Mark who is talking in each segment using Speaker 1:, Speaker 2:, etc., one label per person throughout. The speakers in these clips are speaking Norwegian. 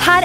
Speaker 1: her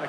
Speaker 2: I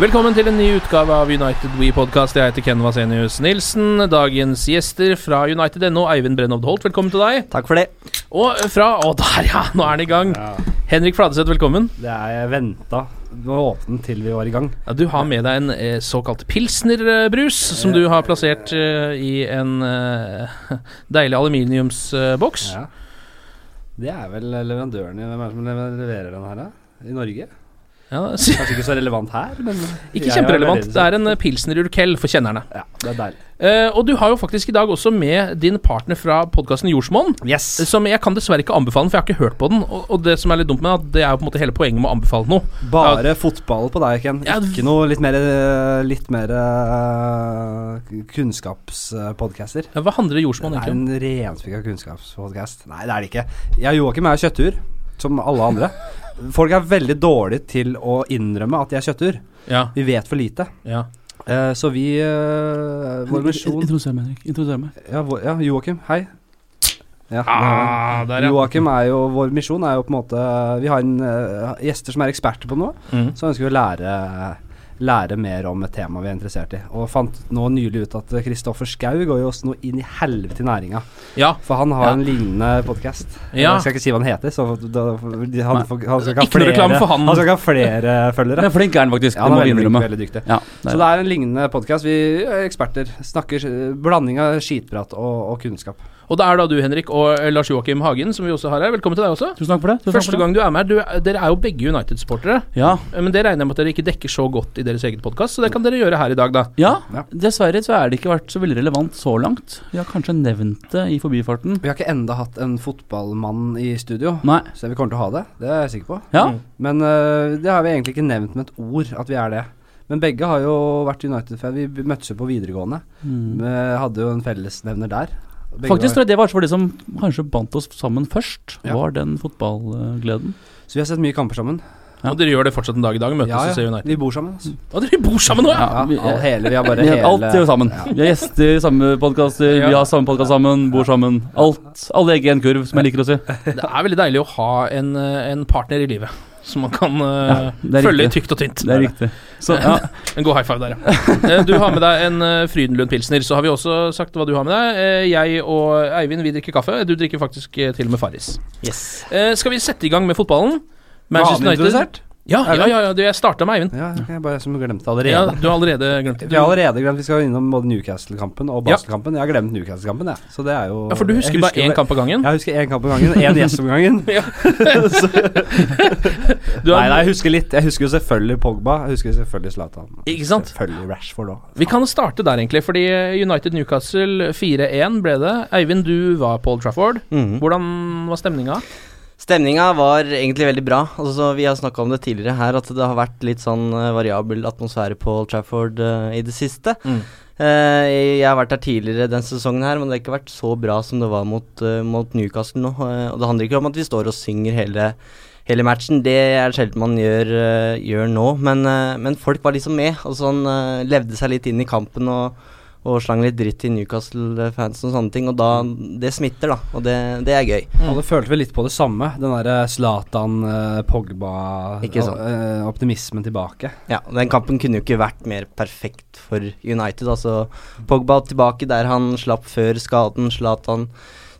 Speaker 3: Velkommen til en ny utgave av United We Podcast. Jeg heter Ken Vasenius Nilsen. Dagens gjester fra United.no, Eivind Brennovd Holt, velkommen til deg.
Speaker 4: Takk for det.
Speaker 3: Og fra Å, der, ja! Nå er han i gang. Henrik Fladeseth, velkommen.
Speaker 4: Det er jeg venta. Nå åpnet den til vi var i gang.
Speaker 3: Ja, Du har med deg en eh, såkalt pilsnerbrus, som du har plassert eh, i en eh, deilig aluminiumsboks.
Speaker 4: Ja. Det er vel leverandøren i Hvem er det som leverer den her, da? I Norge?
Speaker 3: Ja, s-
Speaker 4: Kanskje ikke så relevant her, men
Speaker 3: ikke kjemperelevant. Det er en eh, pilsner ur Kell for kjennerne.
Speaker 4: Ja, det er deilig.
Speaker 3: Eh, og du har jo faktisk i dag også med din partner fra podkasten Jordsmonn.
Speaker 4: Yes.
Speaker 3: Som jeg kan dessverre ikke anbefale, den, for jeg har ikke hørt på den. Og, og det som er litt dumt med den, er at det er jo på en måte hele poenget med å anbefale noe.
Speaker 4: Bare fotball på deg, Ken.
Speaker 3: Ja,
Speaker 4: Ikke noe litt mer, eh, litt mer eh, kunnskapspodcaster.
Speaker 3: Ja, Hva handler Jordsmonn
Speaker 4: Det er
Speaker 3: egentlig om?
Speaker 4: en renspikka kunnskapspodkast. Nei, det er det ikke. Jeg og Joakim er kjøttur, som alle andre. Folk er veldig dårlige til å innrømme at de er kjøttur.
Speaker 3: Ja,
Speaker 4: Vi vet for lite.
Speaker 3: ja.
Speaker 4: Eh, så vi eh, Vår misjon
Speaker 5: Introduser meg, Henrik. Introduser meg.
Speaker 4: Ja, vår, ja Joakim, hei. Ja,
Speaker 3: Ah, der,
Speaker 4: der,
Speaker 3: ja.
Speaker 4: Joakim er jo Vår misjon er jo på en måte Vi har en, eh, gjester som er eksperter på noe.
Speaker 3: Mhm.
Speaker 4: Så ønsker vi å lære, lære mer om et tema vi er interessert i. Og fant nå nylig ut at Kristoffer Schau går jo også nå inn i helvete i næringa.
Speaker 3: ja.
Speaker 4: For han har
Speaker 3: Ja.
Speaker 4: en lignende podkast.
Speaker 3: Ja.
Speaker 4: Jeg skal ikke si hva han heter. Så da, de, han, får- han skal ikke ha
Speaker 3: Ikke noe
Speaker 4: flere,
Speaker 3: reklame for han.
Speaker 4: han skal ikke ha flere følgere.
Speaker 5: Jeg er flink er han faktisk, det
Speaker 4: Ja, han
Speaker 5: må vi
Speaker 4: er veldig, flink,
Speaker 5: innrømme.
Speaker 4: veldig dyktig.
Speaker 5: Ja, det
Speaker 4: Så
Speaker 5: er.
Speaker 4: det er en lignende podkast. Vi er eksperter snakker eh, blanding av skitprat og, og kunnskap.
Speaker 3: Og det er da du, Henrik, og eh, Lars Joakim Hagen, som vi også har her. Velkommen til deg også.
Speaker 5: Tusen takk for det. Tusen takk for
Speaker 3: Første
Speaker 5: det.
Speaker 3: gang du er med her. Du, er- dere er jo begge United-sportere.
Speaker 5: Ja.
Speaker 3: Eh, Men det regner jeg med at dere ikke dekker så godt i deres eget podkast, så det kan dere gjøre her i dag, da.
Speaker 4: Ja.
Speaker 5: ja, dessverre så er det ikke vært så veldig relevant så langt. Vi har kanskje nevnt det i forbifarten.
Speaker 4: Vi har ikke enda hatt en fotballmann i studio,
Speaker 5: Nei.
Speaker 4: så vi kommer til å ha det. Det er jeg sikker på. Mm.
Speaker 5: Ja,
Speaker 4: Men eh, det har vi egentlig ikke nevnt med et ord at vi er det. Men begge har jo vært United-fan. Vi b- møttes jo på videregående. Vi hadde jo en fellesnevner der. Begge
Speaker 5: faktisk tror
Speaker 4: var,
Speaker 5: jeg det var for det som kanskje bandt oss sammen først,
Speaker 4: Ja.
Speaker 5: var den fotballgleden.
Speaker 4: så vi har sett mye kamper sammen.
Speaker 3: Og dere gjør det fortsatt en dag i dag. Møtes og ser United.
Speaker 4: vi bor sammen. Altså.
Speaker 3: Og dere bor sammen nå, ja!
Speaker 4: Ja,
Speaker 5: vi-
Speaker 4: all, hele, vi har bare
Speaker 5: Vi har
Speaker 4: hele
Speaker 5: alt
Speaker 3: sånn.
Speaker 5: det er jo sammen. Vi har gjester i samme podkaster, vi
Speaker 3: Ja.
Speaker 5: har samme podkast sammen, bor sammen. Alt. Alle egg i en kurv, som jeg liker å si.
Speaker 3: Det er veldig deilig å ha en, eh, en partner i livet som man kan eh,
Speaker 5: det er
Speaker 3: følge
Speaker 5: riktig.
Speaker 3: tykt og tynt.
Speaker 5: Det er riktig. Så ja,
Speaker 3: En god high five der, ja. Eh, Du har med deg en eh, Frydenlund Pilsner. Så har vi også sagt hva du har med deg. Eh, Jeg og Eivind vi drikker kaffe. Du drikker faktisk eh, til og med Farris. Eh, Skal vi sette i gang med fotballen?
Speaker 4: Manchester United.
Speaker 3: Ja,
Speaker 4: Er det?
Speaker 3: ja, ja, ja du, jeg starta med Eivind.
Speaker 4: Ja, ok, jeg bare som glemte det
Speaker 3: Ja,
Speaker 4: allerede.
Speaker 3: du har allerede glemt det.
Speaker 4: Vi har allerede glemt Vi skal innom både Newcastle-kampen og
Speaker 3: Ja.
Speaker 4: Basel-kampen. Jeg har glemt Newcastle-kampen, jeg. Så det er jo
Speaker 3: Ja, for du husker
Speaker 4: jeg
Speaker 3: bare én
Speaker 4: bare-
Speaker 3: kamp av gangen?
Speaker 4: Jeg husker én kamp om gangen. Én gjest om gangen.
Speaker 3: Du
Speaker 4: Nei, nei,
Speaker 3: har,
Speaker 4: jeg husker litt. Jeg husker jo selvfølgelig Pogba. Jeg husker selvfølgelig Zlatan.
Speaker 3: ikke sant?
Speaker 4: Selvfølgelig Rashford òg.
Speaker 3: Vi kan starte der, egentlig. Fordi eh, United Newcastle 4-1 ble det. Eivind, du var på Old Trafford.
Speaker 6: Mhm.
Speaker 3: Hvordan var stemninga?
Speaker 6: Stemninga var egentlig veldig bra. Altså, så vi har snakka om det tidligere her, at det har vært litt sånn eh, variabel atmosfære på Old Trafford eh, i det siste.
Speaker 3: Mm.
Speaker 6: Eh, jeg har vært her tidligere den sesongen her, men det har ikke vært så bra som det var mot, eh, mot Newcastle nå. eh, og det handler ikke om at vi står og synger hele hele matchen. Det er det sjelden man gjør, eh, gjør nå, men, eh, men folk var liksom med. og sånn eh, Levde seg litt inn i kampen og, og slang litt dritt til Newcastle-fansen og sånne ting. Og da Det smitter, da. Og det, det er gøy.
Speaker 4: Alle følte vel litt på det samme. Den derre Zlatan, eh, Pogba
Speaker 6: Ikke sant.
Speaker 4: eh, Optimismen tilbake.
Speaker 6: Ja, og den kampen kunne jo ikke vært mer perfekt for United. Altså, Pogba tilbake der han slapp før skaden, Zlatan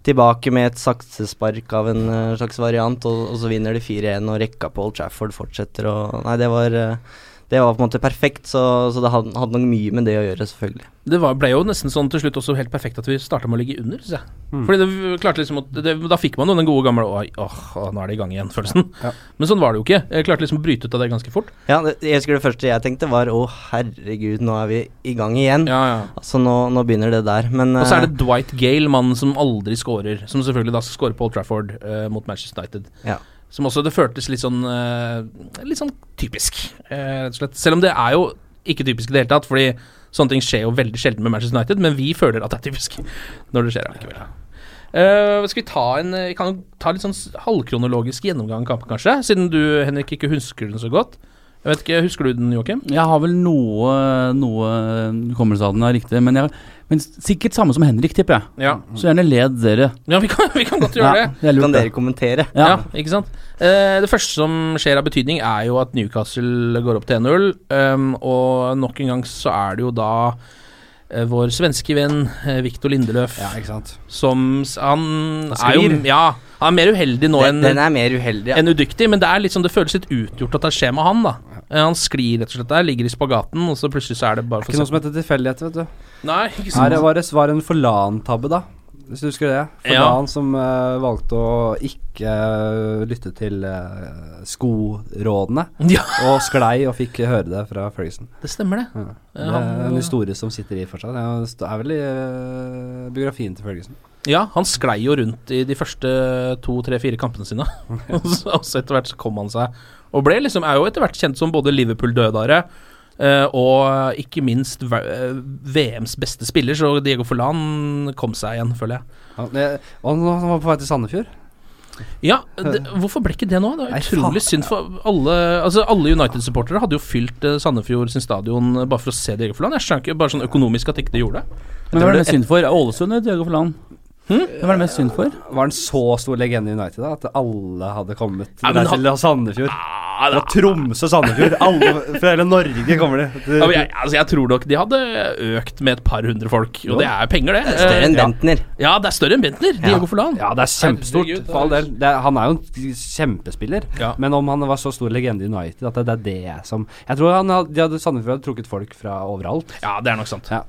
Speaker 6: tilbake med et saksespark av en eh, slags variant, og, og så vinner de 4-1, og rekka på Old Trafford fortsetter, og Nei, det var eh, det var på en måte perfekt, så, så det hadde, hadde nok mye med det å gjøre, selvfølgelig.
Speaker 3: Det var, ble jo nesten sånn til slutt også helt perfekt at vi starta med å ligge under, syns jeg. Fordi det v- klarte liksom å det, Da fikk man jo den gode gamle Oi, åh, åh, nå er det i gang igjen-følelsen. Men sånn var det jo ikke. Jeg klarte liksom å bryte ut av det ganske fort.
Speaker 6: Ja, det, jeg husker det første jeg tenkte var å herregud, nå er vi i gang igjen. Altså nå, nå begynner det der, men
Speaker 3: Og så er
Speaker 6: eh,
Speaker 3: det Dwight Gale, mannen som aldri scorer, som selvfølgelig da skal score på Old Trafford eh, mot Manchester United.
Speaker 6: Ja.
Speaker 3: Som også det føltes litt sånn eh, Litt sånn typisk, eh, rett og slett. Selv om det er jo ikke typisk i det hele tatt, fordi sånne ting skjer jo veldig sjelden med Manchester United, men vi føler at det er typisk når det skjer allikevel. Eh, skal vi ta en eh, Vi kan jo ta litt sånn s- halvkronologisk gjennomgang av kampen, kanskje? Siden du, Henrik, ikke husker den så godt. Jeg vet ikke, Husker du den, Joakim?
Speaker 5: Jeg har vel noe, noe hukommelse av den er riktig, men, jeg, men sikkert samme som Henrik, tipper jeg.
Speaker 3: Ja.
Speaker 5: Så gjerne led dere.
Speaker 3: Ja, vi kan, vi kan godt gjøre
Speaker 5: Ja,
Speaker 3: det.
Speaker 5: det er lurt, Kan dere det.
Speaker 6: kommentere?
Speaker 3: Ja.
Speaker 5: Ja.
Speaker 3: ikke sant. Eh, det første som skjer av betydning, er jo at Newcastle går opp til 1-0. ehm, og nok en gang så er det jo da eh, vår svenske venn eh, Viktor Lindeløf
Speaker 4: Ja, ikke sant.
Speaker 3: som s- Han er jo
Speaker 6: sklir.
Speaker 3: Ja, han er mer uheldig nå
Speaker 6: den,
Speaker 3: enn
Speaker 6: den er mer uheldig.
Speaker 3: enn udyktig, men det er liksom, det føles litt utgjort at det skjer med han. da Eh, Han sklir rett og slett der, ligger i spagaten, og så plutselig så er det bare
Speaker 4: Ikke noe som heter tilfeldighet, vet du.
Speaker 3: Nei, ikke sånn. sant.
Speaker 4: Her var det var det en Forlan-tabbe, da. Hvis du husker det. Forlan som eh, valgte å ikke eh, lytte til eh, skorådene.
Speaker 3: Ja.
Speaker 4: Og sklei og fikk høre det fra Ferguson.
Speaker 3: Det stemmer, det.
Speaker 4: Ja. Det
Speaker 3: Ja, han-
Speaker 4: er en historie som sitter i fortsatt. Det er vel i eh, biografien til Ferguson.
Speaker 3: Ja, han sklei jo rundt i de første to, tre, fire kampene sine. og så og så etter hvert så kom han seg. Og ble liksom, er jo etter hvert kjent som både Liverpool-dødare eh, og ikke minst v- eh, VMs beste spiller, så Diego Forlan kom seg igjen, føler jeg.
Speaker 4: Han, eh, og han han var på vei til Sandefjord.
Speaker 3: Ja, det, hvorfor ble ikke det nå? Det
Speaker 4: Nei,
Speaker 3: er utrolig synd for alle Altså Alle United-supportere hadde jo fylt eh, Sandefjord sin stadion eh, bare for å se Diego Forlan. Jeg skjønner ikke bare sånn økonomisk at ikke det gjorde det.
Speaker 5: Men
Speaker 3: Det
Speaker 5: hva
Speaker 3: var
Speaker 5: er det
Speaker 3: det
Speaker 5: mest synd for? Ålesund eller Diago Forlan? Hm? Hva er det mest synd for?
Speaker 4: Var han så stor legende i United da at alle hadde kommet
Speaker 3: Nei,
Speaker 4: til,
Speaker 3: men
Speaker 4: til Sandefjord?
Speaker 3: da-
Speaker 4: Fra Tromsø og Sandefjord. Alle fra hele Norge kommer de.
Speaker 3: Ja, men jeg, altså jeg tror nok de hadde økt med et par hundre folk, og det er penger, det.
Speaker 6: Større enn
Speaker 3: Eh,
Speaker 6: Bentner.
Speaker 3: Ja, det er større enn Bentner. Diego Forlan.
Speaker 4: Ja, det er kjempestort,
Speaker 3: Herregud,
Speaker 4: for all del. Det er, han er jo en kjempespiller,
Speaker 3: Ja.
Speaker 4: men om han var så stor legende i United at det, det er det jeg som Jeg tror han hadde, de hadde Sandefjord hadde trukket folk fra overalt.
Speaker 3: Ja, det er nok sant.
Speaker 4: Ja.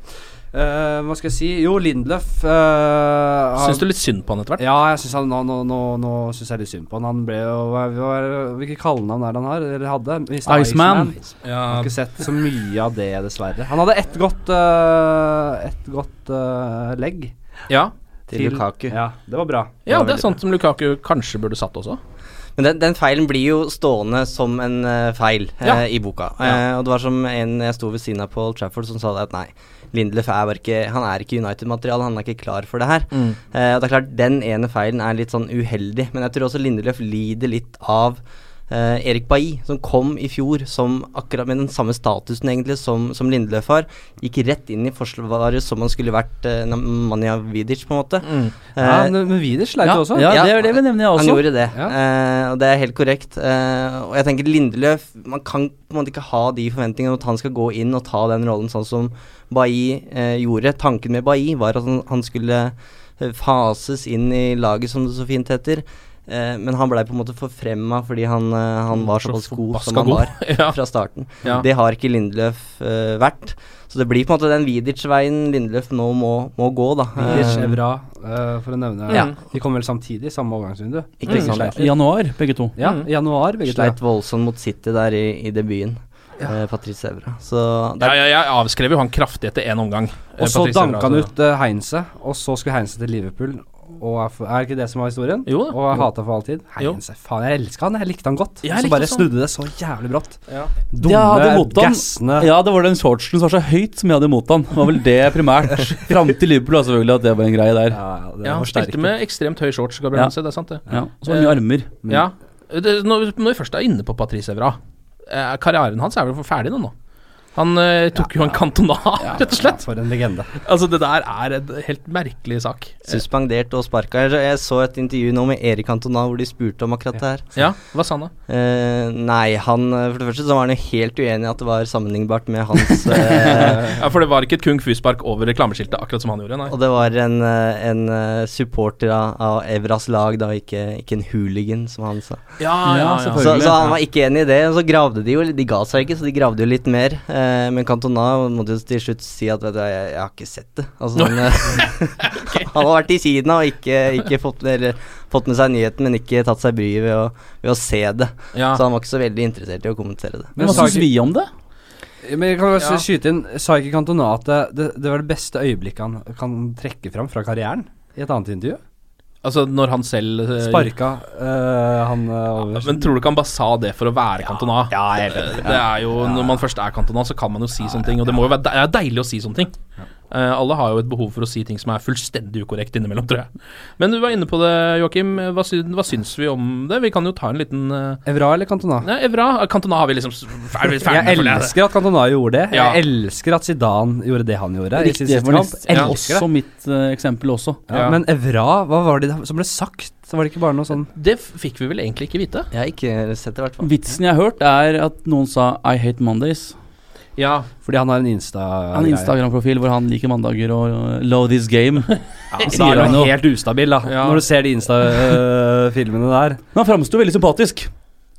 Speaker 4: Eh, hva skal jeg si? Jo, Lindløf uh,
Speaker 3: Syns du litt synd på han etter hvert?
Speaker 4: Ja, jeg synes han, nå, nå, nå, nå synes jeg litt synd på han. Han ble jo hva, hva, Hvilke kallenavn er det han har? Eller hadde? Mr.
Speaker 5: Iceman.
Speaker 4: Jeg har
Speaker 3: Ja,
Speaker 4: ikke sett så mye av det, dessverre. Han hadde ett godt, eh, ett godt eh, legg.
Speaker 3: ja.
Speaker 6: Til Lukaku.
Speaker 4: Ja, det var bra.
Speaker 3: ja det er sånt som Lukaku kanskje burde satt også.
Speaker 6: Men den, den feilen blir jo stående som en eh, feil eh,
Speaker 3: Ja.
Speaker 6: i boka. Eh, og det var som en jeg sto ved siden av på Old Trafford som sa det at nei, Lindelöf er bare ikke Han er ikke United-materiale, han er ikke klar for det her.
Speaker 3: Mm.
Speaker 6: Eh, og det er klart, den ene feilen er litt sånn uheldig, men jeg tror også Lindelöf lider litt av eh, Erik Bailly, som kom i fjor som akkurat med den samme statusen egentlig som, som Lindelöf har, gikk rett inn i forsvaret som han skulle vært eh, Nemanja Vidic, på en måte.
Speaker 3: Mm.
Speaker 6: Eh,
Speaker 4: Ja, men men Wider sleit jo også.
Speaker 5: Mm. ja, det, det nevner jeg
Speaker 6: han
Speaker 5: også.
Speaker 6: gjorde det,
Speaker 4: Ja.
Speaker 6: eh, og det er helt korrekt. Eh, og jeg tenker Lindeløf Man kan på en måte ikke ha de forventningene om at han skal gå inn og ta den rollen sånn som Bailly eh, gjorde. Tanken med Bailly var at han, han skulle eh, fases inn i laget, som det så fint heter. Eh, men han blei på en måte forfremma fordi han, eh, han var
Speaker 3: Mm, Så
Speaker 6: såpass god
Speaker 3: forbaska
Speaker 6: som han
Speaker 3: god.
Speaker 6: var
Speaker 3: Ja.
Speaker 6: fra starten.
Speaker 3: Ja.
Speaker 6: Det har ikke Lindeløf eh, vært. Så det blir på en måte den Vidic-veien Lindeløf nå må, må gå, da.
Speaker 4: Vidic,
Speaker 6: Eh,
Speaker 4: Evra, eh, for å nevne
Speaker 3: Ja.
Speaker 4: De kom vel samtidig, samme overgangsvindu?
Speaker 6: Eh, Ikke sant.
Speaker 4: Sleit
Speaker 5: I
Speaker 4: litt.
Speaker 5: januar, begge to.
Speaker 4: Ja,
Speaker 3: Mm.
Speaker 4: i januar, begge to.
Speaker 6: Sleit voldsomt mot City der i, i debuten. eh, Patrice Evra. Så det
Speaker 3: Ja,
Speaker 6: er,
Speaker 3: ja, jeg avskrev jo han kraftig etter én omgang. eh,
Speaker 4: Og så
Speaker 3: Patrice Evra,
Speaker 4: danka han
Speaker 3: altså.
Speaker 4: ut eh, Heinze, og så skulle Heinze til Liverpool. Og er, for, er ikke det som var historien?
Speaker 3: Jo da.
Speaker 4: Og er hata for all tid?
Speaker 3: Jo.
Speaker 4: Heinze, faen, jeg elska han, jeg likte han godt.
Speaker 3: Jeg
Speaker 4: så
Speaker 3: likte
Speaker 4: bare
Speaker 3: også han. sånn.
Speaker 4: snudde det så jævlig brått.
Speaker 3: Ja.
Speaker 4: Dumme, gassende
Speaker 5: Ja, det var den shortsen som var så høyt som jeg hadde imot han. Det var vel det primært. Fram til Liverpool, da, selvfølgelig, at det var en greie der.
Speaker 4: Ja, det
Speaker 3: Ja, han
Speaker 4: var
Speaker 3: spilte
Speaker 4: sterkt.
Speaker 3: med ekstremt høy shorts, Gabriel
Speaker 5: Ja.
Speaker 3: Hanse, det er sant, det.
Speaker 5: Ja. Og så var det mye armer. Mm.
Speaker 3: Ja. det, når, når vi først er inne på Patrice Evra eh, Karrieren hans er vel for ferdig nå, nå? Han eh, tok jo en kantona, rett og slett.
Speaker 4: for en legende.
Speaker 3: Altså, det der er en helt merkelig sak.
Speaker 6: Suspendert og sparka. Jeg, jeg så et intervju nå med Erik Antona hvor de spurte om akkurat det her.
Speaker 3: Ja, hva sa han da?
Speaker 6: Eh, nei, han eh, For det første så var han jo helt uenig i at det var sammenlignbart med hans eh,
Speaker 3: ja, For det var ikke et kung fu-spark over reklameskiltet, akkurat som han gjorde, nei.
Speaker 6: Og det var en, eh, en eh, supporter av, av Evras lag, da, ikke, ikke en hooligan, som han sa.
Speaker 3: Ja, ja, ja.
Speaker 6: Så,
Speaker 3: selvfølgelig.
Speaker 6: så han
Speaker 3: Ja.
Speaker 6: var ikke enig i det. og Så gravde de jo litt- De ga seg ikke, så de gravde jo litt mer. Eh, men Cantona måtte jo til slutt si at vet du, jeg, jeg har ikke sett det. Altså, han, eh, han har vært i Kina og ikke, ikke fått, med, eller, fått med seg nyheten, men ikke tatt seg bryet ved å, ved å se det.
Speaker 3: Ja.
Speaker 6: Så han var ikke så veldig interessert i å kommentere det.
Speaker 5: Men hva syns vi om det?
Speaker 4: Men jeg kan bare
Speaker 3: Ja.
Speaker 4: skyte inn Sa ikke Cantona at det, det, det var det beste øyeblikket han kan trekke fram fra karrieren? I et annet intervju.
Speaker 3: Altså, når han selv eh,
Speaker 4: Sparka eh, han eh, over
Speaker 3: Men tror du ikke han bare sa det for å være Cantona?
Speaker 4: Ja, jeg
Speaker 3: Det, det er jo, Når man først er Cantona, så kan man jo si sånne ting. Og det må jo være de det er deilig å si sånne ting. Eh, alle har jo et behov for å si ting som er fullstendig ukorrekt innimellom, tror jeg. Men du var inne på det, Joakim. Hva, sy hva syns vi om det? Vi kan jo ta en liten eh,
Speaker 4: Evra eller Cantona?
Speaker 3: Nei, Evra. Cantona har vi liksom er vi ferdig
Speaker 4: Jeg
Speaker 3: med for det?
Speaker 4: elsker at Cantona gjorde det.
Speaker 3: Ja.
Speaker 4: Jeg elsker at Zidane gjorde det han gjorde. i sin
Speaker 5: Riktig,
Speaker 4: siste
Speaker 5: for
Speaker 4: kamp.
Speaker 5: nest-
Speaker 4: Jeg
Speaker 5: ja,
Speaker 4: elsker
Speaker 5: også
Speaker 4: det.
Speaker 5: mitt eh, eksempel også.
Speaker 4: Ja,
Speaker 3: ja.
Speaker 4: men Evra, hva var det som ble sagt? Så var det ikke bare noe sånn
Speaker 3: Det f- fikk vi vel egentlig ikke vite.
Speaker 6: Jeg har ikke sett det, i hvert fall.
Speaker 5: Vitsen jeg har hørt, er at noen sa 'I hate Mondays'.
Speaker 3: Ja,
Speaker 4: Fordi han har en Insta...
Speaker 5: En Instagram-profil hvor han liker mandager og uh, 'low this game'.
Speaker 4: Ja, så er han jo helt ustabil, da.
Speaker 3: Ja.
Speaker 4: Når du ser de Insta-filmene der.
Speaker 5: Men han framsto veldig sympatisk.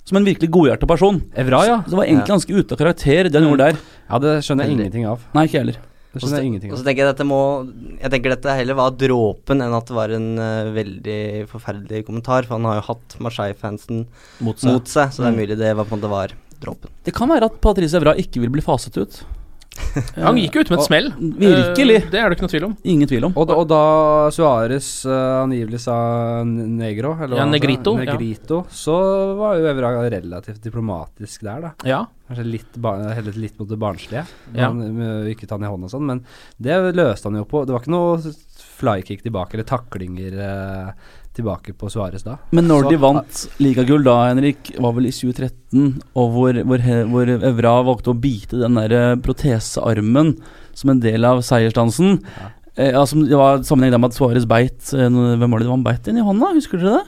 Speaker 5: Som en virkelig godhjerta person.
Speaker 4: Evra, Ah, ja. Mm.
Speaker 5: Så det var egentlig
Speaker 6: Ja.
Speaker 5: ganske ute av karakter, det han gjorde der.
Speaker 4: Ja, det skjønner jeg ingenting av.
Speaker 5: Nei, ikke jeg heller.
Speaker 4: Det
Speaker 6: Og så-
Speaker 4: skjønner jeg ingenting
Speaker 6: Og så
Speaker 4: av.
Speaker 6: tenker jeg dette må Jeg tenker dette heller var dråpen enn at det var en eh, veldig forferdelig kommentar, for han har jo hatt Marseille-fansen
Speaker 5: Mot seg.
Speaker 6: mot seg, så Mm. det er mulig det var på en måte var dråpen.
Speaker 5: Det kan være at Patrice Evra ikke vil bli faset ut. Eh,
Speaker 3: Han gikk jo ut med et smell.
Speaker 5: virkelig.
Speaker 3: Eh, Det er det ikke noe tvil om.
Speaker 5: Ingen tvil om.
Speaker 4: Og, da- og da Suárez angivelig sa n- negro, eller
Speaker 3: Ja,
Speaker 4: hva han sa,
Speaker 3: negrito, ja.
Speaker 4: negrito så var jo Evra relativt diplomatisk der, da.
Speaker 3: Ja.
Speaker 4: Kanskje litt, ba heller litt mot det barnslige.
Speaker 3: Ja.
Speaker 4: Han, med å ikke ta den i hånden og sånn, men det løste han jo på. Det var ikke noe flykick tilbake, eller taklinger eh, tilbake på Suárez da.
Speaker 5: Men når
Speaker 4: Så-
Speaker 5: de vant ligagull da, Henrik, var vel i 2013, og hvor, hvor, he- hvor Evra valgte å bite den der eh, protesearmen som en del av seiersdansen. Eh, altså, det var sammenheng der med at Suárez beit eh, no- Hvem var det han beit inn i hånda? Husker dere det?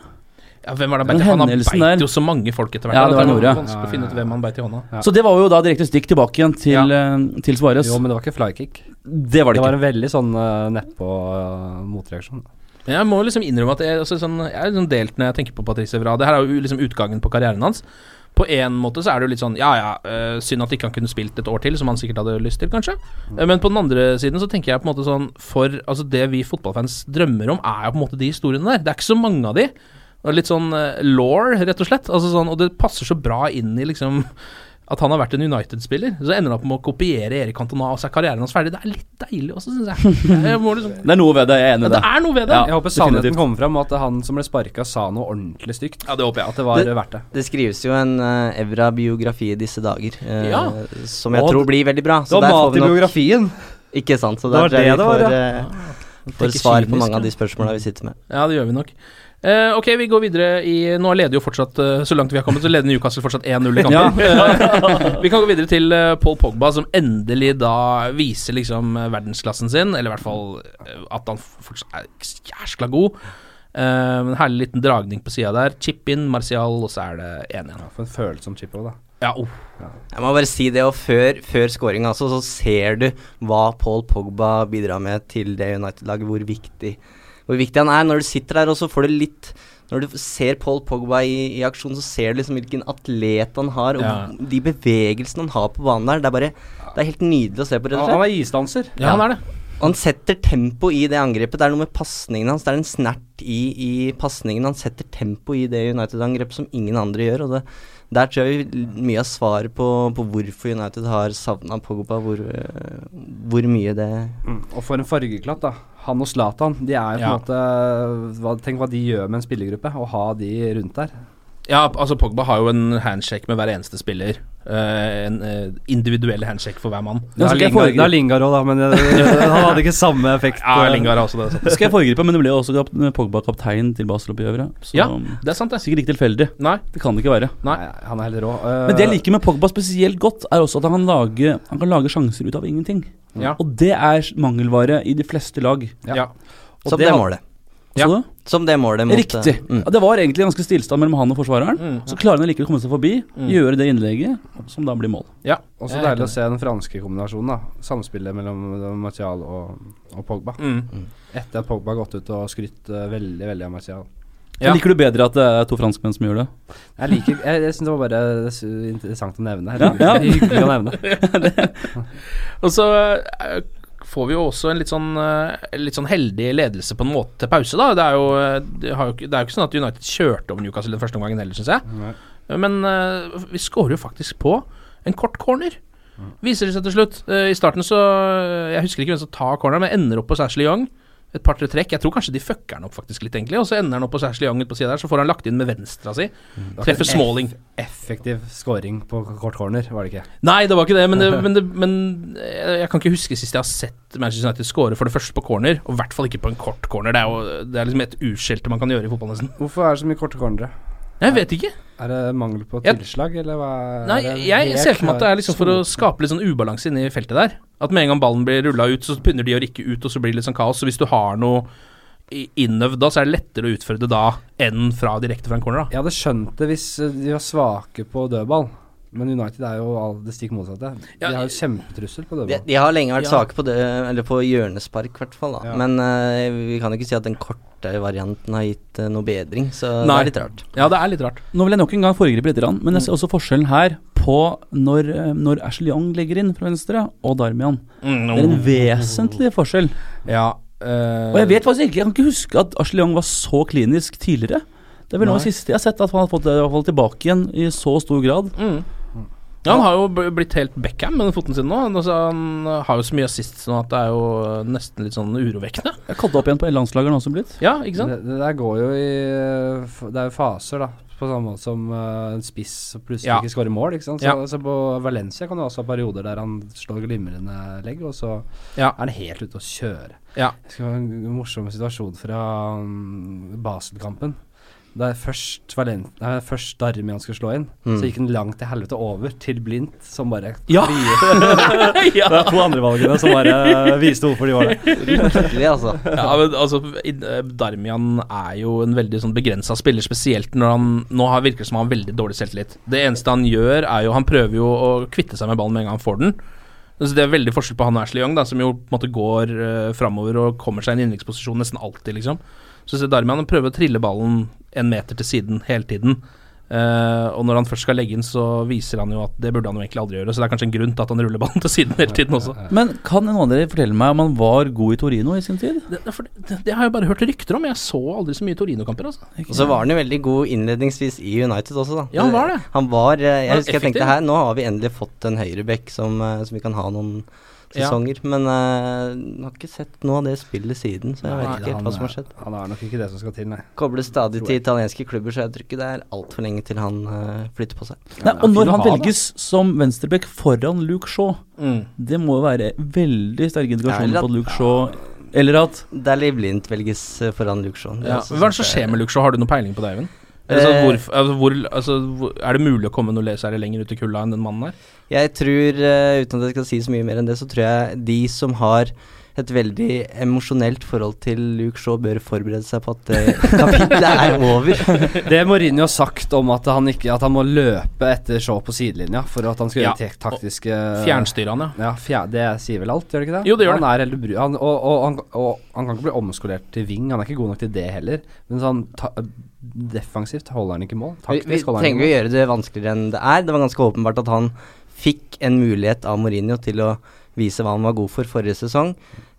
Speaker 3: Ja, hvem var det
Speaker 5: Den
Speaker 3: han beit i? Han
Speaker 5: hendelsen der.
Speaker 3: beit jo så mange folk etter hvert.
Speaker 5: Ja, det var
Speaker 3: at
Speaker 5: Nora.
Speaker 3: vanskelig å finne ut hvem han beit i hånda.
Speaker 4: Ja.
Speaker 5: Så det var jo da direkte stikk tilbake igjen til, eh, til Suárez.
Speaker 4: Jo, men det var ikke flykick.
Speaker 5: Det var det
Speaker 4: Det var
Speaker 5: ikke.
Speaker 4: en veldig sånn uh, nedpå eh, motreaksjon.
Speaker 3: Men jeg må liksom innrømme at jeg, altså, sånn, jeg er liksom delt når jeg tenker på Patrice Evra. Det her er jo liksom utgangen på karrieren hans. På en måte så er det jo litt sånn ja ja, eh, synd at ikke han kunne spilt et år til, som han sikkert hadde lyst til, kanskje.
Speaker 5: Mm.
Speaker 3: Eh, Men på den andre siden så tenker jeg på en måte sånn For altså det vi fotballfans drømmer om, er jo på en måte de historiene der. Det er ikke så mange av de. Og litt sånn eh, law, rett og slett. Altså sånn, og det passer så bra inn i liksom at han har vært en United-spiller. Så ender han opp med å kopiere Erik Cantona, og så er karrieren hans ferdig. Det er litt deilig også, syns jeg. jeg må liksom,
Speaker 5: Det er noe ved det, jeg er enig i
Speaker 3: det
Speaker 5: det.
Speaker 3: er noe ved det.
Speaker 4: Jeg håper sannheten kommer fram, og at han som ble sparka, sa noe ordentlig stygt.
Speaker 3: Ja, det håper jeg.
Speaker 4: At det var
Speaker 6: Det-
Speaker 4: verdt det.
Speaker 6: Det skrives jo en eh, Evra-biografi i disse dager, eh,
Speaker 3: Ja.
Speaker 6: som jeg
Speaker 4: Og
Speaker 6: tror
Speaker 4: det-
Speaker 6: blir veldig bra. Så der får vi nok
Speaker 4: biografien!
Speaker 6: Ikke sant, så
Speaker 4: Det
Speaker 6: der
Speaker 4: var
Speaker 6: tror jeg
Speaker 4: det
Speaker 6: vi
Speaker 4: det var,
Speaker 6: får,
Speaker 4: ja.
Speaker 6: eh, får
Speaker 3: Tenker
Speaker 6: svar på
Speaker 3: kynisk,
Speaker 6: mange av de
Speaker 3: ja.
Speaker 6: spørsmåla vi sitter med.
Speaker 3: Ja, det gjør vi nok. Eh, ok, vi går videre i Nå leder jo fortsatt, eh, så langt vi har kommet, så leder Newcastle fortsatt 1-0 i kampen. Eh, vi kan gå videre til eh, Paul Pogba, som endelig da viser liksom eh, verdensklassen sin, eller i hvert fall eh, at han fortsatt er jæskla god. Eh, en herlig liten dragning på sida der. Chip in, Martial, og så er det 1 igjen.
Speaker 4: Ja, for en følsom chip òg, da.
Speaker 3: Ja, oh.
Speaker 6: Jeg må bare si det, og før, før scoringa også, så ser du hva Paul Pogba bidrar med til det United-laget, hvor viktig, hvor viktig han er. Når du sitter der, og så får du litt Når du ser Paul Pogba i, i aksjon, så ser du liksom hvilken atlet han har, og
Speaker 3: Ja.
Speaker 6: de bevegelsene han har på banen der. Det er bare Det er helt nydelig å se på, rett og slett.
Speaker 4: er isdanser.
Speaker 3: ja, han er det.
Speaker 6: Og han setter tempo i det angrepet. Det er noe med pasningene hans. Det er en snert i, i pasningen. Han setter tempo i det United-angrepet som ingen andre gjør. Og det, der tror jeg vi- mye av svaret på, på hvorfor United har savna Pogba, hvor, øh, hvor mye det
Speaker 4: Og for en fargeklatt, da. Han og Zlatan, de er jo på en
Speaker 3: Ja.
Speaker 4: måte hva, Tenk hva de gjør med en spillergruppe, å ha de rundt der.
Speaker 3: Ja, altså Pogba har jo en handshake med hver eneste spiller. eh, en eh, individuell handshake for hver mann.
Speaker 4: Det er Lingar- det er Lingard òg, da, men eh, han hadde ikke samme effekt. eh.
Speaker 3: Ja, Lingard er også det, sant.
Speaker 5: Det skal jeg foregripe, men det ble jo også kap Pogba kaptein til Basel-oppgjøret. Så
Speaker 3: Ja, det er sant, det.
Speaker 5: sikkert ikke tilfeldig.
Speaker 3: Nei.
Speaker 5: Det kan det ikke være.
Speaker 3: Nei.
Speaker 4: Han er heller rå.
Speaker 5: Men det jeg liker med Pogba spesielt godt, er også at han kan lage, han kan lage sjanser ut av ingenting.
Speaker 3: Ja.
Speaker 5: Og det er mangelvare i de fleste lag.
Speaker 3: Ja.
Speaker 5: Og
Speaker 6: Som
Speaker 5: det
Speaker 6: det
Speaker 5: har-
Speaker 6: målet.
Speaker 5: Hva sa du?
Speaker 6: Som det målet mot
Speaker 5: Riktig.
Speaker 6: Mm.
Speaker 5: Ja, det var egentlig ganske stillstand mellom han og forsvareren.
Speaker 6: Mm, ja.
Speaker 5: Så klarer han likevel å komme seg forbi,
Speaker 4: Mm.
Speaker 5: gjøre det innlegget, som da blir mål.
Speaker 3: Ja.
Speaker 5: Jeg
Speaker 4: Og så
Speaker 5: er helt
Speaker 4: deilig å se den franske kombinasjonen. da Samspillet mellom eh, Martial og, og Pogba.
Speaker 3: Mm.
Speaker 4: Etter at Pogba har gått ut og skrytt eh, veldig veldig av Martial.
Speaker 5: Men Liker du bedre at det er to franskmenn som gjør det?
Speaker 4: Jeg liker Jeg, jeg syns det var bare su- interessant å nevne.
Speaker 5: Ja, ja.
Speaker 4: Hyggelig å nevne.
Speaker 3: Og så eh, får vi jo også en litt sånn, eh, litt sånn heldig ledelse på en måte til pause, da. Det er jo, eh, det har jo, ikke- det er jo ikke sånn at United kjørte over Newcastle den første omgangen heller, syns jeg. Men eh, vi scorer jo faktisk på en kort corner. Viser det seg til slutt. Eh, I starten så eh, Jeg husker ikke hvem som tar corneren, men ender opp på Sashley Young. Et par-tre trekk. Jeg tror kanskje de fucker han opp faktisk litt, egentlig. Og så ender han opp på Sashley Young ut på sida der, så får han lagt inn med venstra si.
Speaker 4: Mm.
Speaker 3: Treffer Smalling.
Speaker 4: Effektiv scoring på kort corner, var det ikke?
Speaker 3: Nei, det var ikke det, men, det, men, det, men eh, jeg kan ikke huske sist jeg har sett Manchester United score for det første på corner, og i hvert fall ikke på en kort corner. Det er jo det er liksom et utskjelte man kan gjøre i fotball, nesten.
Speaker 4: Hvorfor er det så mye korte cornere?
Speaker 3: Jeg vet ikke.
Speaker 4: Er det mangel på
Speaker 3: Jeg-
Speaker 4: tilslag, eller hva er
Speaker 3: Nei,
Speaker 4: det
Speaker 3: jeg
Speaker 4: helt
Speaker 3: ser for meg at det er liksom for å
Speaker 4: klar-
Speaker 3: skape litt sånn ubalanse inne i feltet der. At med en gang ballen blir rulla ut, så begynner de å rykke ut, og så blir det litt sånn kaos. Så hvis du har noe i- innøvd da, så er det lettere å utføre det da enn fra direkte fra en corner, da.
Speaker 4: Jeg hadde skjønt det hvis eh, de var svake på dødball, men United er jo all- det stikk motsatte. De har jo kjempetrussel på
Speaker 6: De,
Speaker 4: dødball.
Speaker 6: de har lenge vært
Speaker 4: Ja.
Speaker 6: svake på, det, eller på hjørnespark, i hvert fall. da.
Speaker 4: Ja.
Speaker 6: Men eh, vi kan jo ikke si at den korte varianten har gitt eh, noe bedring, så det
Speaker 5: Nei.
Speaker 6: er litt rart.
Speaker 3: Ja, det er litt rart.
Speaker 5: Nå vil jeg nok en gang foregripe litt, grann, men jeg ser også forskjellen her på når, eh, når Ashley Young legger inn fra venstre, og Darmian.
Speaker 3: Mm,
Speaker 5: Det er en vesentlig forskjell. og
Speaker 3: eh,
Speaker 5: jeg vet faktisk ikke, jeg kan ikke huske at Ashley Young var så klinisk tidligere. Det er vel nå
Speaker 3: Nei.
Speaker 5: det siste jeg har sett at han har fått det i hvert fall tilbake igjen i så stor grad.
Speaker 3: Mm. Ja, han har jo b- blitt helt Beckham med den foten sin nå. Han- Altså, han har jo så mye assist sånn at det er jo eh, nesten litt sånn urovekkende.
Speaker 5: Jeg kalte opp igjen på landslaget nå som blitt.
Speaker 3: Ja, ikke sant?
Speaker 4: Det, det der går jo i eh, f- Det er jo faser, da. På samme måte som eh, en spiss som plutselig
Speaker 3: Ja.
Speaker 4: ikke skårer mål. Ikke sant? Så,
Speaker 3: Ja.
Speaker 4: så på Valencia kan du også ha perioder der han slår glimrende legg, og så
Speaker 3: Ja.
Speaker 4: er han helt ute å kjøre.
Speaker 3: Ja.
Speaker 4: Det skal være en morsom situasjon fra mm, Basel-kampen. Det er først, Valen- nei, først Darmian skulle slå inn,
Speaker 6: Mm.
Speaker 4: så gikk han langt til helvete over til Blindt, som bare
Speaker 5: Ja!
Speaker 4: Det er to andre valgene som bare viste hvorfor de var der.
Speaker 6: Skikkelig, altså.
Speaker 3: Ja, men altså i- eh, Darmian er jo en veldig sånn begrensa spiller, spesielt når han nå har virker det som han har veldig dårlig selvtillit. Det eneste han gjør, er jo Han prøver jo å kvitte seg med ballen med en gang han får den. Så Det er veldig forskjell på han og Ashley Young, da, som jo på en måte går uh, framover og kommer seg i en innleggsposisjon nesten alltid, liksom. Så ser Darmian han prøver å trille ballen en meter til siden hele tiden. Eh, og når han først skal legge inn, så viser han jo at det burde han jo egentlig aldri gjøre. Så det er kanskje en grunn til at han ruller ballen til siden hele tiden også.
Speaker 5: Men kan noen av dere fortelle meg om han var god i Torino i sin tid?
Speaker 3: Det, det, for det, det har jeg bare hørt rykter om. Jeg så aldri så mye Torino-kamper, altså.
Speaker 6: Og så var han jo veldig god innledningsvis i United også, da.
Speaker 3: Ja, han var det.
Speaker 6: Han var, eh, jeg
Speaker 3: Han var
Speaker 6: husker jeg tenkte
Speaker 3: effektiv.
Speaker 6: her, nå har vi endelig fått en høyrebekk som, eh, som vi kan ha noen
Speaker 3: Ja.
Speaker 6: sesonger. Men eh, jeg har ikke sett noe av det spillet siden, så jeg vet ikke helt hva
Speaker 3: eh,
Speaker 6: som har skjedd.
Speaker 4: Han er nok ikke det som skal til, nei.
Speaker 6: Kobles stadig til italienske klubber, så jeg tror ikke det er altfor lenge til han eh, flytter på seg.
Speaker 5: Nei, og når
Speaker 4: fin å
Speaker 5: han
Speaker 4: ha, da.
Speaker 5: velges som venstrebekk foran Luke Shaw,
Speaker 3: Mm.
Speaker 5: det må jo være veldig sterke indikasjoner
Speaker 6: Eller at-
Speaker 5: på at Luke Shaw Eller at
Speaker 6: Dally Blindt velges eh, foran Luke Shaw. Det er
Speaker 3: Ja.
Speaker 6: også
Speaker 3: Hva er det som
Speaker 6: synes jeg-
Speaker 3: skjer med Luke Shaw? Har du noe peiling på det, Eivind? Eller så
Speaker 6: Eh.
Speaker 3: hvorf- altså, hvor, altså, hvor, er det mulig å komme noe le- særlig lenger ut i kulda enn den mannen der?
Speaker 6: Jeg tror, eh, uten at jeg skal si så mye mer enn det, så tror jeg de som har et veldig emosjonelt forhold til Luke Shaw, bør forberede seg på at det kapitlet er over.
Speaker 4: Det Mourinho har sagt om at han, ikke, at han må løpe etter Shaw på sidelinja for at han skal
Speaker 3: Ja,
Speaker 4: gjøre tek- taktiske
Speaker 6: Eh.
Speaker 3: Fjernstyrer han, ja.
Speaker 4: Ja, fjer, Det sier vel alt, gjør det ikke det?
Speaker 3: Jo, det gjør
Speaker 4: han Er helt ubru han, og, og, han, og han kan ikke bli omskolert til wing, han er ikke god nok til det heller. Men sånn ta defensivt holder han ikke mål.
Speaker 6: Vi, vi
Speaker 4: Taktisk holder han
Speaker 6: trenger
Speaker 4: ikke
Speaker 6: jo å
Speaker 4: mål.
Speaker 6: gjøre det vanskeligere enn det er. Det var ganske åpenbart at han fikk en mulighet av Mourinho til å vise hva han var god for forrige sesong.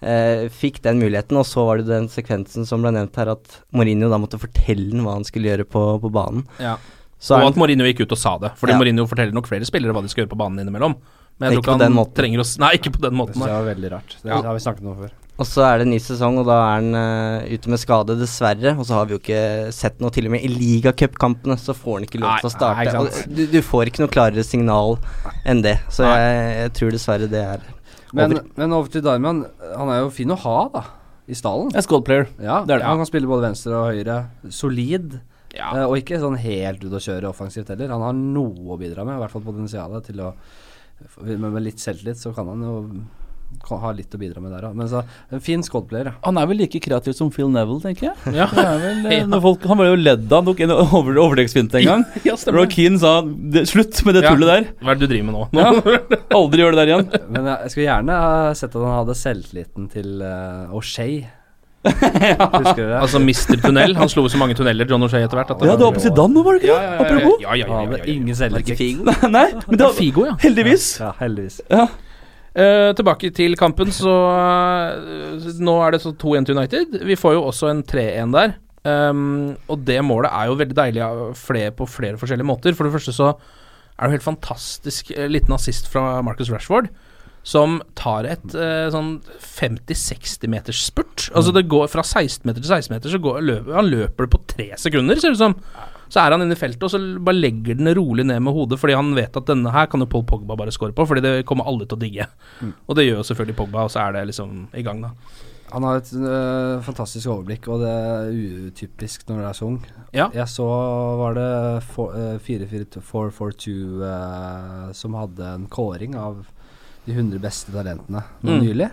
Speaker 6: Eh, fikk den muligheten, og så var det den sekvensen som ble nevnt her, at Mourinho da måtte fortelle ham hva han skulle gjøre på, på banen. Så er
Speaker 3: og
Speaker 6: han-
Speaker 3: at Mourinho gikk ut og sa det. Fordi
Speaker 6: Ja.
Speaker 3: Mourinho forteller nok flere spillere hva de skal gjøre på banen innimellom. Men jeg
Speaker 6: Ikke
Speaker 3: tror
Speaker 6: på
Speaker 3: ikke
Speaker 6: den
Speaker 3: han
Speaker 6: måten.
Speaker 3: trenger å s- Nei, ikke på den
Speaker 4: Det
Speaker 3: måten.
Speaker 4: synes
Speaker 3: Nei.
Speaker 4: jeg var veldig rart. Det
Speaker 3: Ja.
Speaker 4: har vi snakket om før.
Speaker 6: Og så er det en ny sesong, og da er han eh, ute med skade, dessverre. Og så har vi jo ikke sett noe. Til og med i ligacupkampene så får han ikke lov til å
Speaker 3: Nei,
Speaker 6: starte.
Speaker 3: nei, ikke sant.
Speaker 6: og du, du får ikke noe klarere signal enn det. Så jeg, jeg tror dessverre det er
Speaker 4: Men,
Speaker 6: over.
Speaker 4: men over til Darmian. Han er jo fin å ha, da. I stallen.
Speaker 5: En squad player.
Speaker 4: Ja,
Speaker 5: Det er det.
Speaker 4: Han kan spille både venstre og høyre. Solid. Eh, og ikke sånn helt ute å kjøre offensivt heller. Han har noe å bidra med, i hvert fall potensialet til å Men med litt selvtillit så kan han jo kan ha litt å bidra med der òg. Men så en fin squadplayer, ja.
Speaker 5: Han er vel like kreativ som Phil Neville, tenker jeg.
Speaker 3: Ja.
Speaker 5: Det er vel, eh,
Speaker 3: Ja.
Speaker 5: når folk, han ble jo ledd av, han tok en over, overleggsfinte en gang.
Speaker 3: Ja, stemmer.
Speaker 5: Roy Keane sa "Det- 'slutt med det
Speaker 3: Ja.
Speaker 5: tullet der'.
Speaker 3: Hva er det du driver med nå?
Speaker 5: Ja. Aldri gjør det der igjen.
Speaker 4: Men jeg jeg skulle gjerne ha sett at han hadde selvtilliten til uh, O'Shay. Husker dere det?
Speaker 3: Altså Mr. Tunnel. Han slo jo så mange tunneler, John O'Shay, etter hvert. at
Speaker 5: Ja, det var på Zidane nå, var det ikke det?
Speaker 3: Ja, ja, ja, ja.
Speaker 5: Apropos.
Speaker 3: Ja, ja, ja,
Speaker 4: Han
Speaker 3: ja,
Speaker 4: hadde
Speaker 3: ja,
Speaker 4: ingen selvrespekt.
Speaker 5: Nei, nei, men det
Speaker 3: ja.
Speaker 5: var
Speaker 3: Figo, ja.
Speaker 5: heldigvis.
Speaker 4: Ja, heldigvis.
Speaker 3: Eh, tilbake til kampen, så eh, Nå er det så 2-1 til United. Vi får jo også en 3-1 der. Ehm, og det målet er jo veldig deilig av flere, på flere forskjellige måter. For det første så er det jo helt fantastisk eh, liten assist fra Marcus Rashford. Som tar et eh, sånn 50-60 meters spurt. Altså det går fra 16 meter til 16 meter, så går, løper, han løper det på tre sekunder, ser det ut som. Så er han inne i feltet, og så bare legger den rolig ned med hodet, fordi han vet at denne her kan jo Paul Pogba bare score på, fordi det kommer alle til å digge. Og det gjør jo selvfølgelig Pogba, og så er det liksom i gang, da.
Speaker 4: Han har et øh, fantastisk overblikk, og det er utypisk når du er så ung.
Speaker 3: Ja.
Speaker 4: Jeg så var det for- øh, 442 442 øh, som hadde en kåring av de 100 beste talentene nå
Speaker 3: Mm.
Speaker 4: nylig.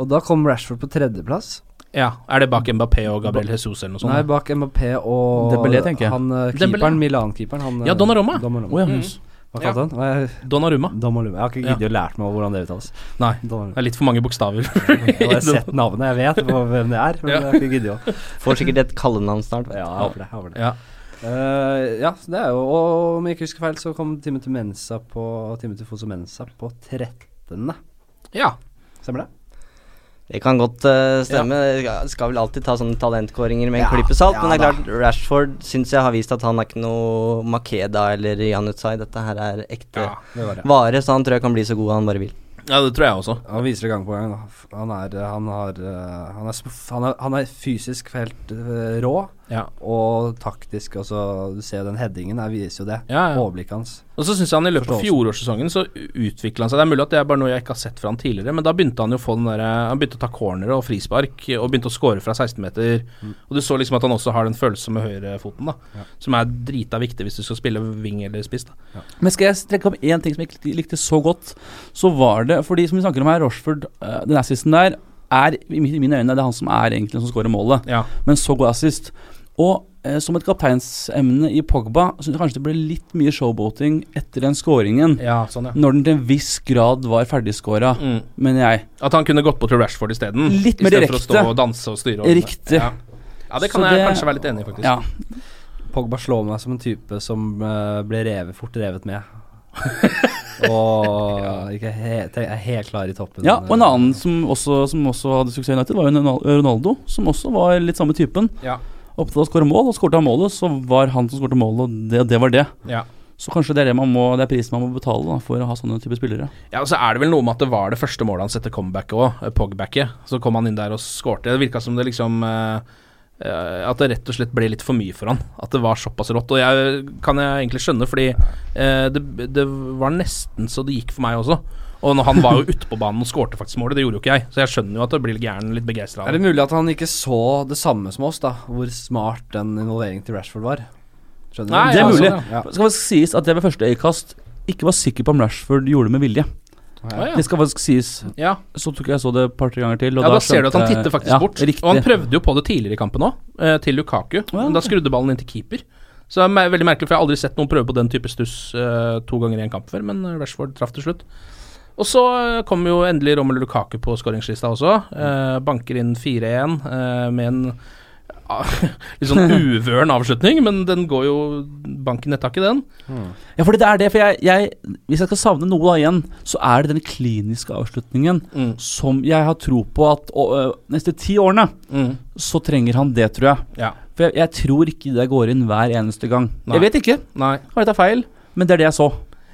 Speaker 4: Og da kom Rashford på tredjeplass.
Speaker 3: Ja, Er det bak Mbappé og Gabriel Jesus eller noe sånt?
Speaker 4: Nei, bak Mbappé og
Speaker 5: Dembélé, tenker jeg.
Speaker 4: han øh,
Speaker 3: Dembélé.
Speaker 4: keeperen, Milan-keeperen. han,
Speaker 3: Ja,
Speaker 4: øh,
Speaker 3: Donnarumma.
Speaker 5: Å ja,
Speaker 3: Mm.
Speaker 5: jøss.
Speaker 4: Hva kalte han? Hva er-
Speaker 3: Donnarumma.
Speaker 4: Donnarumma. Jeg har ikke
Speaker 3: Ja.
Speaker 4: giddet å lært meg hvordan det uttales.
Speaker 3: Nei,
Speaker 4: Donnarumma.
Speaker 3: det er litt for mange bokstaver.
Speaker 4: Jeg har sett navnet, jeg vet hva- hvem det er, men
Speaker 3: Ja.
Speaker 4: jeg har ikke giddet å
Speaker 6: Får sikkert et kallenavn snart.
Speaker 4: Ja, jeg håper det. Jeg håper det.
Speaker 3: ja.
Speaker 4: Eh, ja, så det er jo Og om jeg ikke husker feil, så kom Timothy Mensa på Timothy Fosu Mensa på 13.
Speaker 3: ja.
Speaker 4: Stemmer det?
Speaker 6: Det kan godt eh, stemme. Jeg Skal vel alltid ta sånne talentkåringer med en
Speaker 4: Ja,
Speaker 6: klype salt.
Speaker 4: ja
Speaker 6: men det
Speaker 4: da.
Speaker 6: er klart, Rashford syns jeg har vist at han er ikke noe Makeda eller Janutsai. Dette her er ekte
Speaker 3: Ja.
Speaker 4: det var det.
Speaker 6: vare, så han tror jeg kan bli så god han bare vil.
Speaker 3: ja, det tror jeg også.
Speaker 4: Han viser det gang på gang. da. F- Han er, eh, han har, eh, han er, sp- han er, han er fysisk helt eh, rå
Speaker 3: Ja.
Speaker 4: og taktisk. Altså, du ser jo den headingen her viser jo det.
Speaker 3: Ja, ja.
Speaker 4: Overblikket hans.
Speaker 3: Og så syns jeg han i løpet av
Speaker 4: Forståelse.
Speaker 3: fjorårssesongen så utvikla han seg. Det er mulig at det er bare noe jeg ikke har sett fra han tidligere, men da begynte han jo å få den der, Han begynte å ta cornere og frispark, og begynte å score fra 16-meter. Og du så liksom at han også har den følsomme høyrefoten, da. Som er drita viktig hvis du skal spille wing eller spiss, da.
Speaker 5: Men skal jeg trekke opp én ting som jeg ikke likte så godt, så var det Fordi som vi snakker om her, Roshford, eh, den assisten der, er i mi- i mine øyne det er han som er egentlig den som scorer målet.
Speaker 3: Ja.
Speaker 5: Men så god assist. Og eh, som et kapteinsemne i Pogba syns jeg kanskje det ble litt mye showboating etter den scoringen.
Speaker 3: ja sånn, ja.
Speaker 5: Når den til en viss grad var ferdigscora,
Speaker 3: Mm.
Speaker 5: mener jeg.
Speaker 3: At han kunne gått bort til Rashford isteden.
Speaker 5: Litt mer
Speaker 3: istedenfor å
Speaker 5: direkte.
Speaker 3: stå og danse og styre. over det.
Speaker 5: Riktig.
Speaker 3: Ja. ja, det kan
Speaker 5: Så
Speaker 3: jeg
Speaker 5: det-
Speaker 3: kanskje være litt enig i, faktisk.
Speaker 5: Ja.
Speaker 4: Pogba slår meg som en type som eh, ble revet, fort revet med. og ikke helt, er helt klar i toppen.
Speaker 5: ja, og en annen som også, som også hadde suksess i United, var jo Ronal- Ronaldo, som også var litt samme typen.
Speaker 3: Ja.
Speaker 5: Opptatt av å skåre mål, og skårte han målet, så var han som skårte målet, og det, det var det.
Speaker 3: Ja.
Speaker 5: Så kanskje det er, det man må, det er prisen man må betale da, for å ha sånne type spillere.
Speaker 3: Ja, og så er det vel noe med at det var det første målet hans etter comebacket òg, pogbacket. Så kom han inn der og skårte. Det virka som det liksom eh, eh, At det rett og slett ble litt for mye for han. At det var såpass rått. Og jeg kan jeg egentlig skjønne, fordi eh, det, det var nesten så det gikk for meg også. Og når han var jo ute på banen og skårte faktisk målet, det gjorde jo ikke jeg. Så jeg skjønner jo at det blir gæren litt begeistra.
Speaker 4: Er det mulig at han ikke så det samme som oss, da? Hvor smart den involveringen til Rashford var? Skjønner
Speaker 3: Nei,
Speaker 4: du?
Speaker 5: Det er
Speaker 3: ja,
Speaker 5: mulig.
Speaker 3: sånn,
Speaker 4: Ja.
Speaker 5: Det skal faktisk sies at jeg ved første øyekast ikke var sikker på om Rashford gjorde det med vilje.
Speaker 3: Ja,
Speaker 5: Det skal faktisk sies.
Speaker 3: ja.
Speaker 5: Så tok jeg så det et par-tre ganger til. Og
Speaker 3: ja, da
Speaker 5: da
Speaker 3: ser du at han
Speaker 5: skjønte jeg-
Speaker 3: titter faktisk
Speaker 5: ja,
Speaker 3: bort.
Speaker 5: Riktig.
Speaker 3: Og han prøvde jo på det tidligere i kampen òg, til Lukaku. Men da skrudde ballen inn til keeper. Så det er me- veldig merkelig, for jeg har aldri sett noen prøve på den type stuss eh, to ganger i en kamp før, men eh, Rashford traff til slutt. Og så eh, kom jo endelig Romelu Lukaku på skåringslista også. Eh, banker inn 4-1 eh, med en ah, litt sånn uvøren avslutning, men den går jo Banken nettaket, den.
Speaker 5: Ja, fordi det er det. For jeg, jeg, hvis jeg skal savne noe da igjen, så er det den kliniske avslutningen
Speaker 4: Mm.
Speaker 5: som jeg har tro på at å, ø, neste ti årene så trenger han det, tror jeg.
Speaker 3: Ja.
Speaker 5: For jeg, jeg tror ikke det går inn hver eneste gang.
Speaker 3: Nei.
Speaker 5: Jeg vet ikke,
Speaker 3: Nei.
Speaker 5: kan jeg ta feil, men det er det jeg så.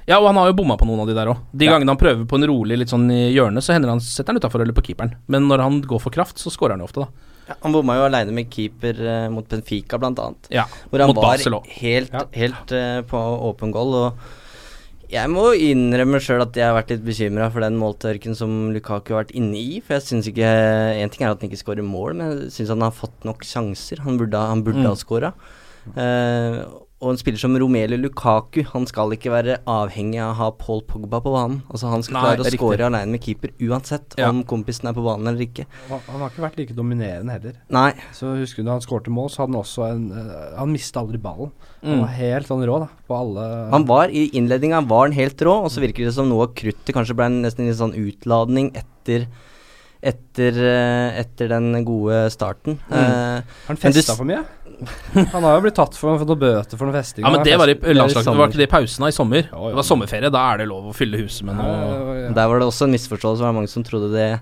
Speaker 3: Ja, og han har jo bomma på noen av de der òg. De gangene han prøver på en rolig litt sånn i hjørnet, så hender han setter han utafor eller på keeperen. Men når han går for kraft, så scorer han jo ofte, da.
Speaker 6: Han bomma jo aleine med keeper eh, mot Benfica, blant annet.
Speaker 3: Ja,
Speaker 6: hvor han
Speaker 3: mot
Speaker 6: var
Speaker 3: Basel også.
Speaker 6: helt, helt eh, på åpen goal. Og jeg må innrømme sjøl at jeg har vært litt bekymra for den måltørken som Lukaku har vært inne i. For jeg syns ikke En ting er at han ikke skårer mål, men jeg syns han har fått nok sjanser. Han burde, ha- han burde
Speaker 3: Mm.
Speaker 6: ha skåra. og en spiller som Romelu Lukaku Han skal ikke være avhengig av å ha Paul Pogba på banen. Altså Han skal
Speaker 3: Nei,
Speaker 6: klare
Speaker 3: det
Speaker 6: å
Speaker 3: er
Speaker 6: skåre
Speaker 3: riktig.
Speaker 6: aleine med keeper uansett
Speaker 3: Ja.
Speaker 6: om kompisen er på banen eller ikke.
Speaker 4: Han, han har ikke vært like dominerende heller.
Speaker 6: Nei.
Speaker 4: Så husker du da han skårte mål, så hadde han også en eh, Han mista aldri ballen. Han
Speaker 6: Mm.
Speaker 4: var helt sånn rå, da, på alle
Speaker 6: Han var I innledninga var han helt rå, og så virker det som noe av kruttet kanskje ble en nesten litt sånn utladning etter etter, eh, etter den gode starten.
Speaker 4: Mm.
Speaker 6: Eh,
Speaker 4: Har han festa for mye? Han har jo blitt tatt for, for noe bøter for noe festing.
Speaker 3: Ja, men
Speaker 4: Han
Speaker 3: det
Speaker 4: har
Speaker 3: var i
Speaker 4: fest- det er i
Speaker 3: landslaget, var
Speaker 4: sommer.
Speaker 3: ikke det i pausen da, i sommer? Det var sommerferie, da er det lov å fylle huset med noe
Speaker 6: Der var det også en misforståelse. Det var mange som trodde det,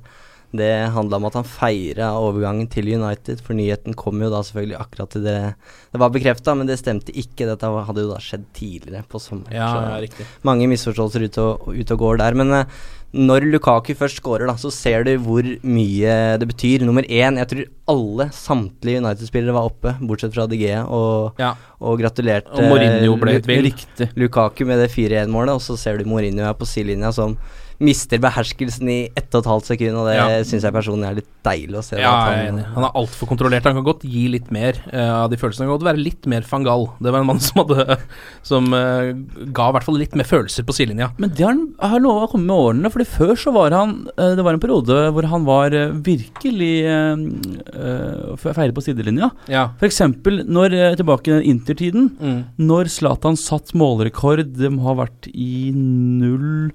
Speaker 6: det handla om at han feira overgangen til United, for nyheten kom jo da selvfølgelig akkurat til det Det var bekrefta, men det stemte ikke. Dette var- hadde jo da skjedd tidligere på sommeren.
Speaker 3: Ja,
Speaker 6: så
Speaker 3: ja, riktig.
Speaker 6: Mange misforståelser ute og, ute og går der. Men eh, når Lukaku først scorer, da, så ser du hvor mye det betyr. Nummer én, jeg tror alle, samtlige United-spillere var oppe, bortsett fra DG, og,
Speaker 3: Ja.
Speaker 6: og gratulerte
Speaker 3: Og Mourinho
Speaker 6: Lu-
Speaker 3: ble helt vill.
Speaker 6: Lukaku med det 4-1-målet, og så ser du Mourinho er på sidelinja som mister beherskelsen i 1 12 sekund, og det
Speaker 3: Ja.
Speaker 6: synes syns jeg personlig er litt deilig å se.
Speaker 3: Ja,
Speaker 6: at
Speaker 3: jeg er enig. Han er altfor kontrollert. Han kan godt gi litt mer eh, av de følelsene. Han kan godt være litt mer fangal. Det var en mann som hadde Som eh, ga i hvert fall litt mer følelser på sidelinja.
Speaker 5: Men det har, han- har lova å komme med årene, Fordi før så var han eh, Det var en periode hvor han var eh, virkelig eh, eh, fe- feiret på sidelinja.
Speaker 3: Ja.
Speaker 5: F.eks. når eh, tilbake i intertiden,
Speaker 3: Mm.
Speaker 5: når Zlatan satt målrekord Det må ha vært i 0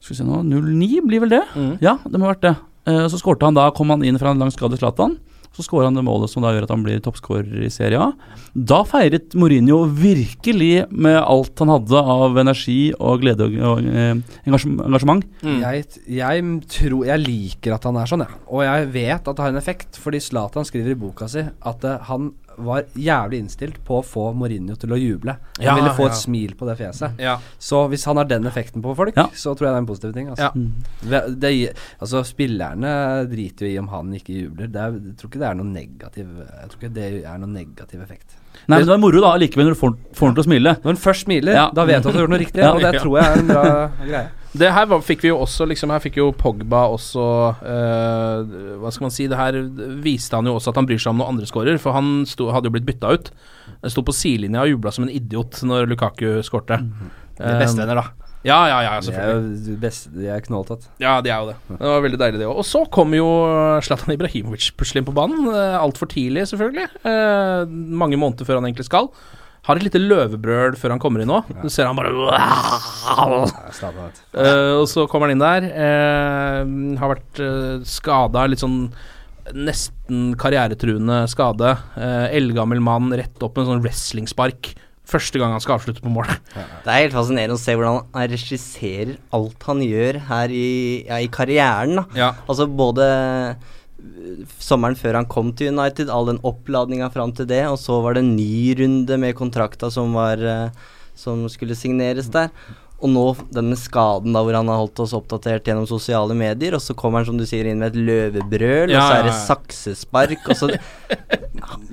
Speaker 5: Skal vi se nå 09 blir vel det?
Speaker 3: Mm.
Speaker 5: Ja, det må ha vært det. Eh, Så skårte han da, kom han inn fra en lang skade Zlatan. Så skårer han det målet som da gjør at han blir toppskårer i Serie A. Da feiret Mourinho virkelig med alt han hadde av energi og glede og, og eh, engasjem- engasjement.
Speaker 4: Jeg, jeg, tror, jeg liker at han er sånn, jeg. Og jeg vet at det har en effekt, fordi Zlatan skriver i boka si at eh, han var jævlig innstilt på å få Mourinho til å juble. Han
Speaker 3: Ja,
Speaker 4: ville få
Speaker 3: ja.
Speaker 4: et smil på det fjeset.
Speaker 3: Ja.
Speaker 4: Så hvis han har den effekten på folk, så tror jeg det er en positiv ting. Altså.
Speaker 3: Ja. Mm.
Speaker 4: Ve- Det, gi- altså, spillerne driter jo i om han ikke jubler. Det er, jeg tror ikke det er noen negativ Jeg tror ikke det er noen negativ effekt.
Speaker 5: Nei, men det var moro da, likevel når du får får han til å smile.
Speaker 4: Når han først smiler, da vet du at du har gjort noe riktig, og det tror jeg er en bra greie.
Speaker 3: Det her var, fikk vi jo også liksom, Her fikk jo Pogba også eh, Hva skal man si Det her viste han jo også at han bryr seg om noen andre skårer For han sto, hadde jo blitt bytta ut Han sto på sidelinja og jublet som en idiot Når Lukaku skårte
Speaker 4: Det er bestevenner, da.
Speaker 3: Ja, ja, ja,
Speaker 4: Det er
Speaker 3: selvfølgelig
Speaker 4: jo best, det er knalltatt.
Speaker 3: Ja, det er jo det Det var veldig deilig det også Og så kom jo Zlatan Ibrahimovic plutselig på banen eh, Alt for tidlig selvfølgelig eh, Mange måneder før han egentlig skal Har et lite løvebrøl før han kommer inn nå Du ser han bare Eh, og så kommer han inn der. eh, har vært uh, skada, litt sånn nesten karrieretruende skade. Uh, Eldgammel mann, rett opp med en sånn wrestlingspark. Første gang han skal avslutte på mål.
Speaker 6: Det er helt fascinerende å se hvordan han regisserer alt han gjør her i, ja, i karrieren. Da.
Speaker 3: Ja.
Speaker 6: Altså både øh, sommeren før han kom til United, all den oppladninga fram til det, og så var det en ny runde med kontrakta som, var, øh, som skulle signeres der. Og nå denne skaden da, hvor han har holdt oss oppdatert gjennom sosiale medier, og så kommer han som du sier inn med et løvebrøl, og
Speaker 4: Ja,
Speaker 6: så
Speaker 4: ja,
Speaker 6: er det
Speaker 4: ja.
Speaker 6: saksespark, og så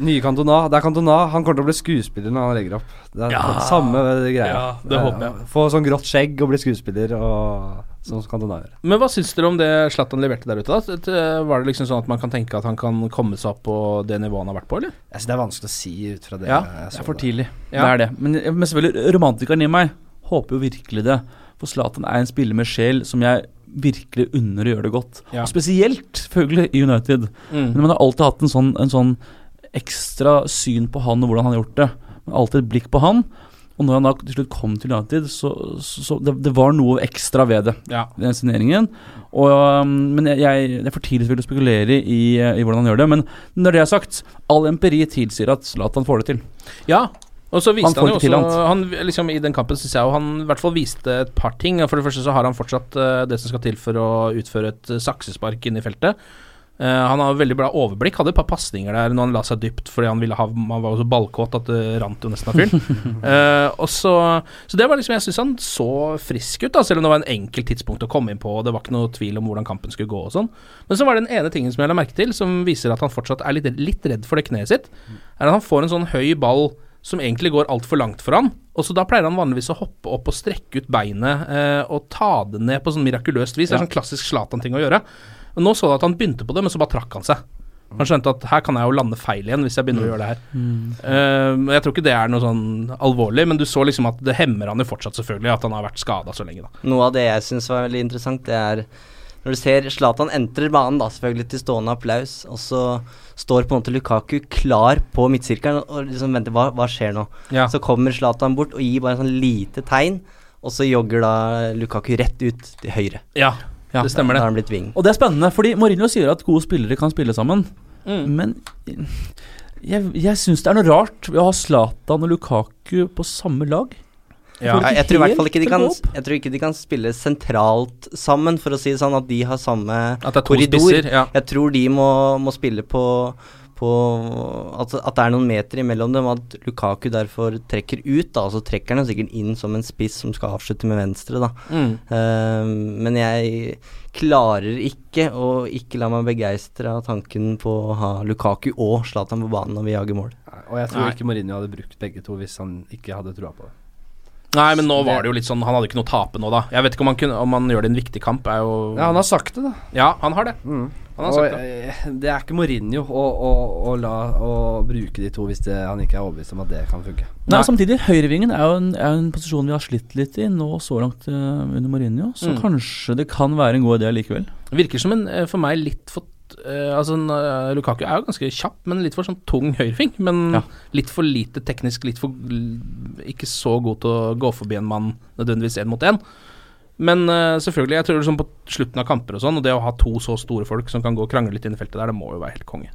Speaker 4: Nye Cantona. Det er Cantona. Han kommer til å bli skuespiller når han legger opp. Det er
Speaker 6: Ja.
Speaker 4: samme greia.
Speaker 3: Ja, det håper jeg.
Speaker 4: Få sånn grått skjegg og bli skuespiller, og sånn som Cantona gjør.
Speaker 3: Men hva syns dere om det Zlatan leverte der ute? da? Et, eh, Var det liksom sånn at man kan tenke at han kan komme seg opp på det nivået han har vært på, eller?
Speaker 4: Jeg synes det er vanskelig å si ut fra det.
Speaker 3: Ja,
Speaker 4: jeg
Speaker 5: Det
Speaker 4: så
Speaker 5: er for
Speaker 4: det.
Speaker 5: tidlig.
Speaker 3: Ja.
Speaker 5: Det er det. Men, men selvfølgelig, romantikeren i meg håper jo virkelig det. For Zlatan er en spiller med sjel som jeg virkelig unner å gjøre det godt.
Speaker 3: Ja.
Speaker 5: Og spesielt selvfølgelig i United.
Speaker 3: Mm.
Speaker 5: Men man har alltid hatt en sånn, en sånn ekstra syn på han og hvordan han har gjort det. Men alltid et blikk på han. Og når han da til slutt kom til United, så, så, så det, det var noe ekstra ved det.
Speaker 3: Ja.
Speaker 5: Den signeringen. Og, um, men jeg, jeg, det er for tidlig selvfølgelig å spekulere i,
Speaker 4: eh,
Speaker 5: i hvordan han gjør det. Men når det er sagt, all empiri tilsier at Zlatan får det til.
Speaker 3: Ja, og så viste
Speaker 5: Han
Speaker 3: han,
Speaker 5: får
Speaker 3: jo
Speaker 5: det til,
Speaker 3: også han, liksom, I den kampen syns jeg jo han i hvert fall viste et par ting. For det første så har han fortsatt eh, det som skal til for å utføre et eh, saksespark inne i feltet. Eh, han har veldig bra overblikk. Hadde et par pasninger der når han la seg dypt fordi han ville ha Han var jo så ballkåt at det rant jo nesten av fyren. Eh, og så Så det var liksom Jeg syns han så frisk ut, da, selv om det var en enkelt tidspunkt å komme inn på, og det var ikke noe tvil om hvordan kampen skulle gå og sånn. Men så var det den ene tingen som jeg la merke til, som viser at han fortsatt er litt, litt redd for det kneet sitt, er at han får en sånn høy ball som egentlig går altfor langt for han. Og så da pleier han vanligvis å hoppe opp og strekke ut beinet eh, og ta det ned på sånn mirakuløst vis.
Speaker 5: Ja.
Speaker 3: Det er sånn klassisk Zlatan-ting å gjøre. Og nå så du at han begynte på det, men så bare trakk han seg. Han skjønte at her kan jeg jo lande feil igjen hvis jeg begynner
Speaker 5: Mm.
Speaker 3: å gjøre det her. Eh, men jeg tror ikke det er noe sånn alvorlig, men du så liksom at det hemmer han jo fortsatt, selvfølgelig, at han har vært skada så lenge, da.
Speaker 6: Noe av det jeg syns var veldig interessant, det er når du ser Zlatan entrer banen, da selvfølgelig til stående applaus, og så står på en måte Lukaku klar på midtsirkelen og liksom venter hva, hva skjer nå.
Speaker 3: Ja.
Speaker 6: Så kommer Zlatan bort og gir bare en sånn lite tegn, og så jogger da Lukaku rett ut til høyre.
Speaker 3: Ja, det stemmer det.
Speaker 6: Da har han blitt wing.
Speaker 5: Og det er spennende, fordi Mourinho sier at gode spillere kan spille sammen.
Speaker 3: Mm.
Speaker 5: Men jeg, jeg syns det er noe rart ved å ha Zlatan og Lukaku på samme lag.
Speaker 6: Ja.
Speaker 5: får det
Speaker 6: jeg tror i hvert fall ikke de
Speaker 5: helt
Speaker 6: kan
Speaker 5: til å gå opp.
Speaker 6: Jeg tror ikke de kan spille sentralt sammen, for å si det sånn, at de har samme
Speaker 3: At det er to
Speaker 6: korridor.
Speaker 3: spisser, ja.
Speaker 6: Jeg tror de må, må spille på, på at, at det er noen meter imellom dem, at Lukaku derfor trekker ut, da, og så trekker han jo sikkert inn som en spiss som skal avslutte med venstre, da.
Speaker 3: Mm.
Speaker 6: Eh, men jeg klarer ikke å ikke la meg begeistre av tanken på å ha Lukaku og Zlatan på banen når vi jager mål.
Speaker 4: Og jeg tror
Speaker 6: Nei.
Speaker 4: ikke Mourinho hadde brukt begge to hvis han ikke hadde trua på det.
Speaker 3: Nei, men nå var det jo litt sånn Han hadde ikke noe å tape nå, da. Jeg vet ikke om han, kunne, om han gjør det i en viktig kamp, er jo
Speaker 4: Ja, han har sagt det, da.
Speaker 3: Ja, han har det. Han har
Speaker 4: Og,
Speaker 3: sagt det.
Speaker 4: eh, det er ikke Mourinho å, å, å, la, å bruke de to hvis det, han ikke er overbevist om at det kan funke.
Speaker 5: Nei, og Samtidig, høyrevingen er jo en, er jo en posisjon vi har slitt litt i nå så langt eh, under Mourinho, så
Speaker 3: Mm.
Speaker 5: kanskje det kan være en god idé likevel.
Speaker 3: Virker som en eh, for meg litt for eh, Altså, en, eh, Lukaku er jo ganske kjapp, men litt for sånn tung høyrefing. Men litt for lite teknisk, litt for l- Ikke så god til å gå forbi en mann nødvendigvis én mot én. Men eh, selvfølgelig, jeg tror liksom på slutten av kamper og sånn, og det å ha to så store folk som kan gå og krangle litt inn i feltet der, det må jo være helt konge.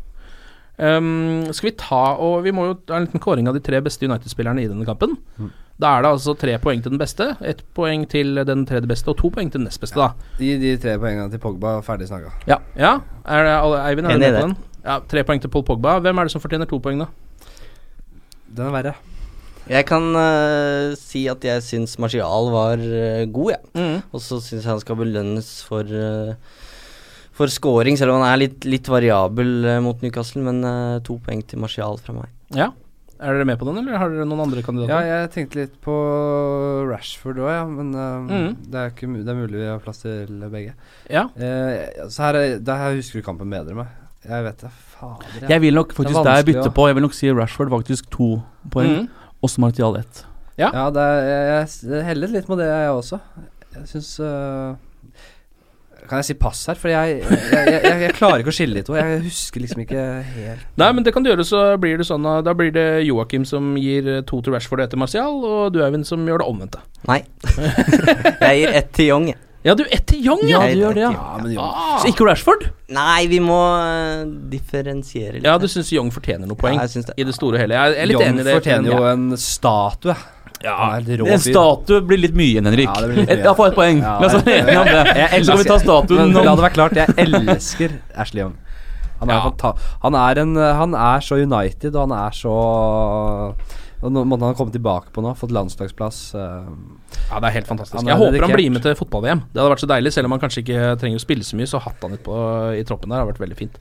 Speaker 3: Ehm, skal vi ta og Vi må jo ha en liten kåring av de tre beste United-spillerne i denne kampen. Da er det altså tre poeng til den beste, ett poeng til den tredje beste og to poeng til den nest beste, da.
Speaker 4: Gi de tre poengene til Pogba, ferdig snakka.
Speaker 5: Ja.
Speaker 3: Er det alle, Eivind, er du
Speaker 4: Enig i
Speaker 3: med på
Speaker 4: det.
Speaker 3: den? Ja, tre poeng til Paul Pogba. Hvem er det som fortjener to poeng, da?
Speaker 4: Den er verre.
Speaker 6: Jeg kan eh, si at jeg syns Martial var eh, god, jeg.
Speaker 3: Mhm.
Speaker 5: Mm.
Speaker 6: Og så syns jeg han skal belønnes for eh, for scoring, selv om han er litt, litt variabel eh, mot Newcastle. Men eh, to poeng til Martial fra meg.
Speaker 3: Ja. Er dere med på den, eller har dere noen andre
Speaker 4: Ja,
Speaker 3: kandidater?
Speaker 4: jeg tenkte litt på Rashford òg, ja. Men eh,
Speaker 3: Mhm.
Speaker 4: det, er ikke, mu- det er mulig vi har plass til begge.
Speaker 3: Ja.
Speaker 4: Eh, så her, er- det her husker du kampen bedre enn meg. Jeg vet det. Fader.
Speaker 5: Jeg vil nok
Speaker 4: Det er
Speaker 5: faktisk der
Speaker 4: vanskelig
Speaker 5: bytte
Speaker 4: å-
Speaker 5: på. Jeg vil nok si Rashford faktisk to poeng,
Speaker 3: Mm.
Speaker 4: Mhm.
Speaker 5: og så Martial ett.
Speaker 3: Ja,
Speaker 4: det er, jeg, jeg s- jeg hellet litt med det, jeg også. Jeg syns øh, Kan jeg si pass her? For jeg, jeg, jeg, jeg, jeg klarer ikke å skille de to. Jeg husker liksom ikke helt
Speaker 3: Nei, men det kan du gjøre, så blir det sånn at da blir det Joakim som gir eh, to til Rashford og ett til Martial, og du, Eivind, som gjør det omvendte.
Speaker 6: Nei. jeg gir ett til Young, jeg.
Speaker 3: Ja, du, ett til Young,
Speaker 5: Ja, du
Speaker 6: Jeg gir
Speaker 5: gjør
Speaker 6: ett
Speaker 5: det, ja.
Speaker 6: til Young,
Speaker 5: men
Speaker 4: Ah,
Speaker 5: Så ikke Rashford?
Speaker 6: Nei, vi må eh, differensiere litt.
Speaker 3: Ja, du syns Young fortjener noen poeng
Speaker 6: Ja, jeg synes det.
Speaker 3: i det store og hele. Jeg er litt
Speaker 4: Young
Speaker 3: enig i det.
Speaker 4: fortjener jo en statue.
Speaker 3: Ja,
Speaker 4: Han er et rå
Speaker 5: En
Speaker 4: fyr.
Speaker 5: statue blir litt mye igjen, Henrik.
Speaker 4: Ja, det blir litt mye.
Speaker 5: Jeg får ett poeng.
Speaker 4: Ja,
Speaker 5: La oss være
Speaker 4: jeg-
Speaker 5: enige om det. Så kan
Speaker 4: jeg
Speaker 5: vi ta
Speaker 4: elsker-
Speaker 5: statuen
Speaker 4: Men
Speaker 5: om
Speaker 4: La det være klart, jeg elsker Ashley Young. Han er,
Speaker 5: Ja.
Speaker 4: fanta- han, er en, øh, han er så United, og han er så og nå måtte han komme tilbake på nå, fått landslagsplass. eh.
Speaker 3: Ja, det er helt fantastisk.
Speaker 4: Han er
Speaker 3: Jeg håper han
Speaker 4: dedikert.
Speaker 3: blir med til fotball-VM. Det hadde vært så deilig, selv om han kanskje ikke trenger å spille så mye, så hatt han litt på i troppen der hadde vært veldig fint.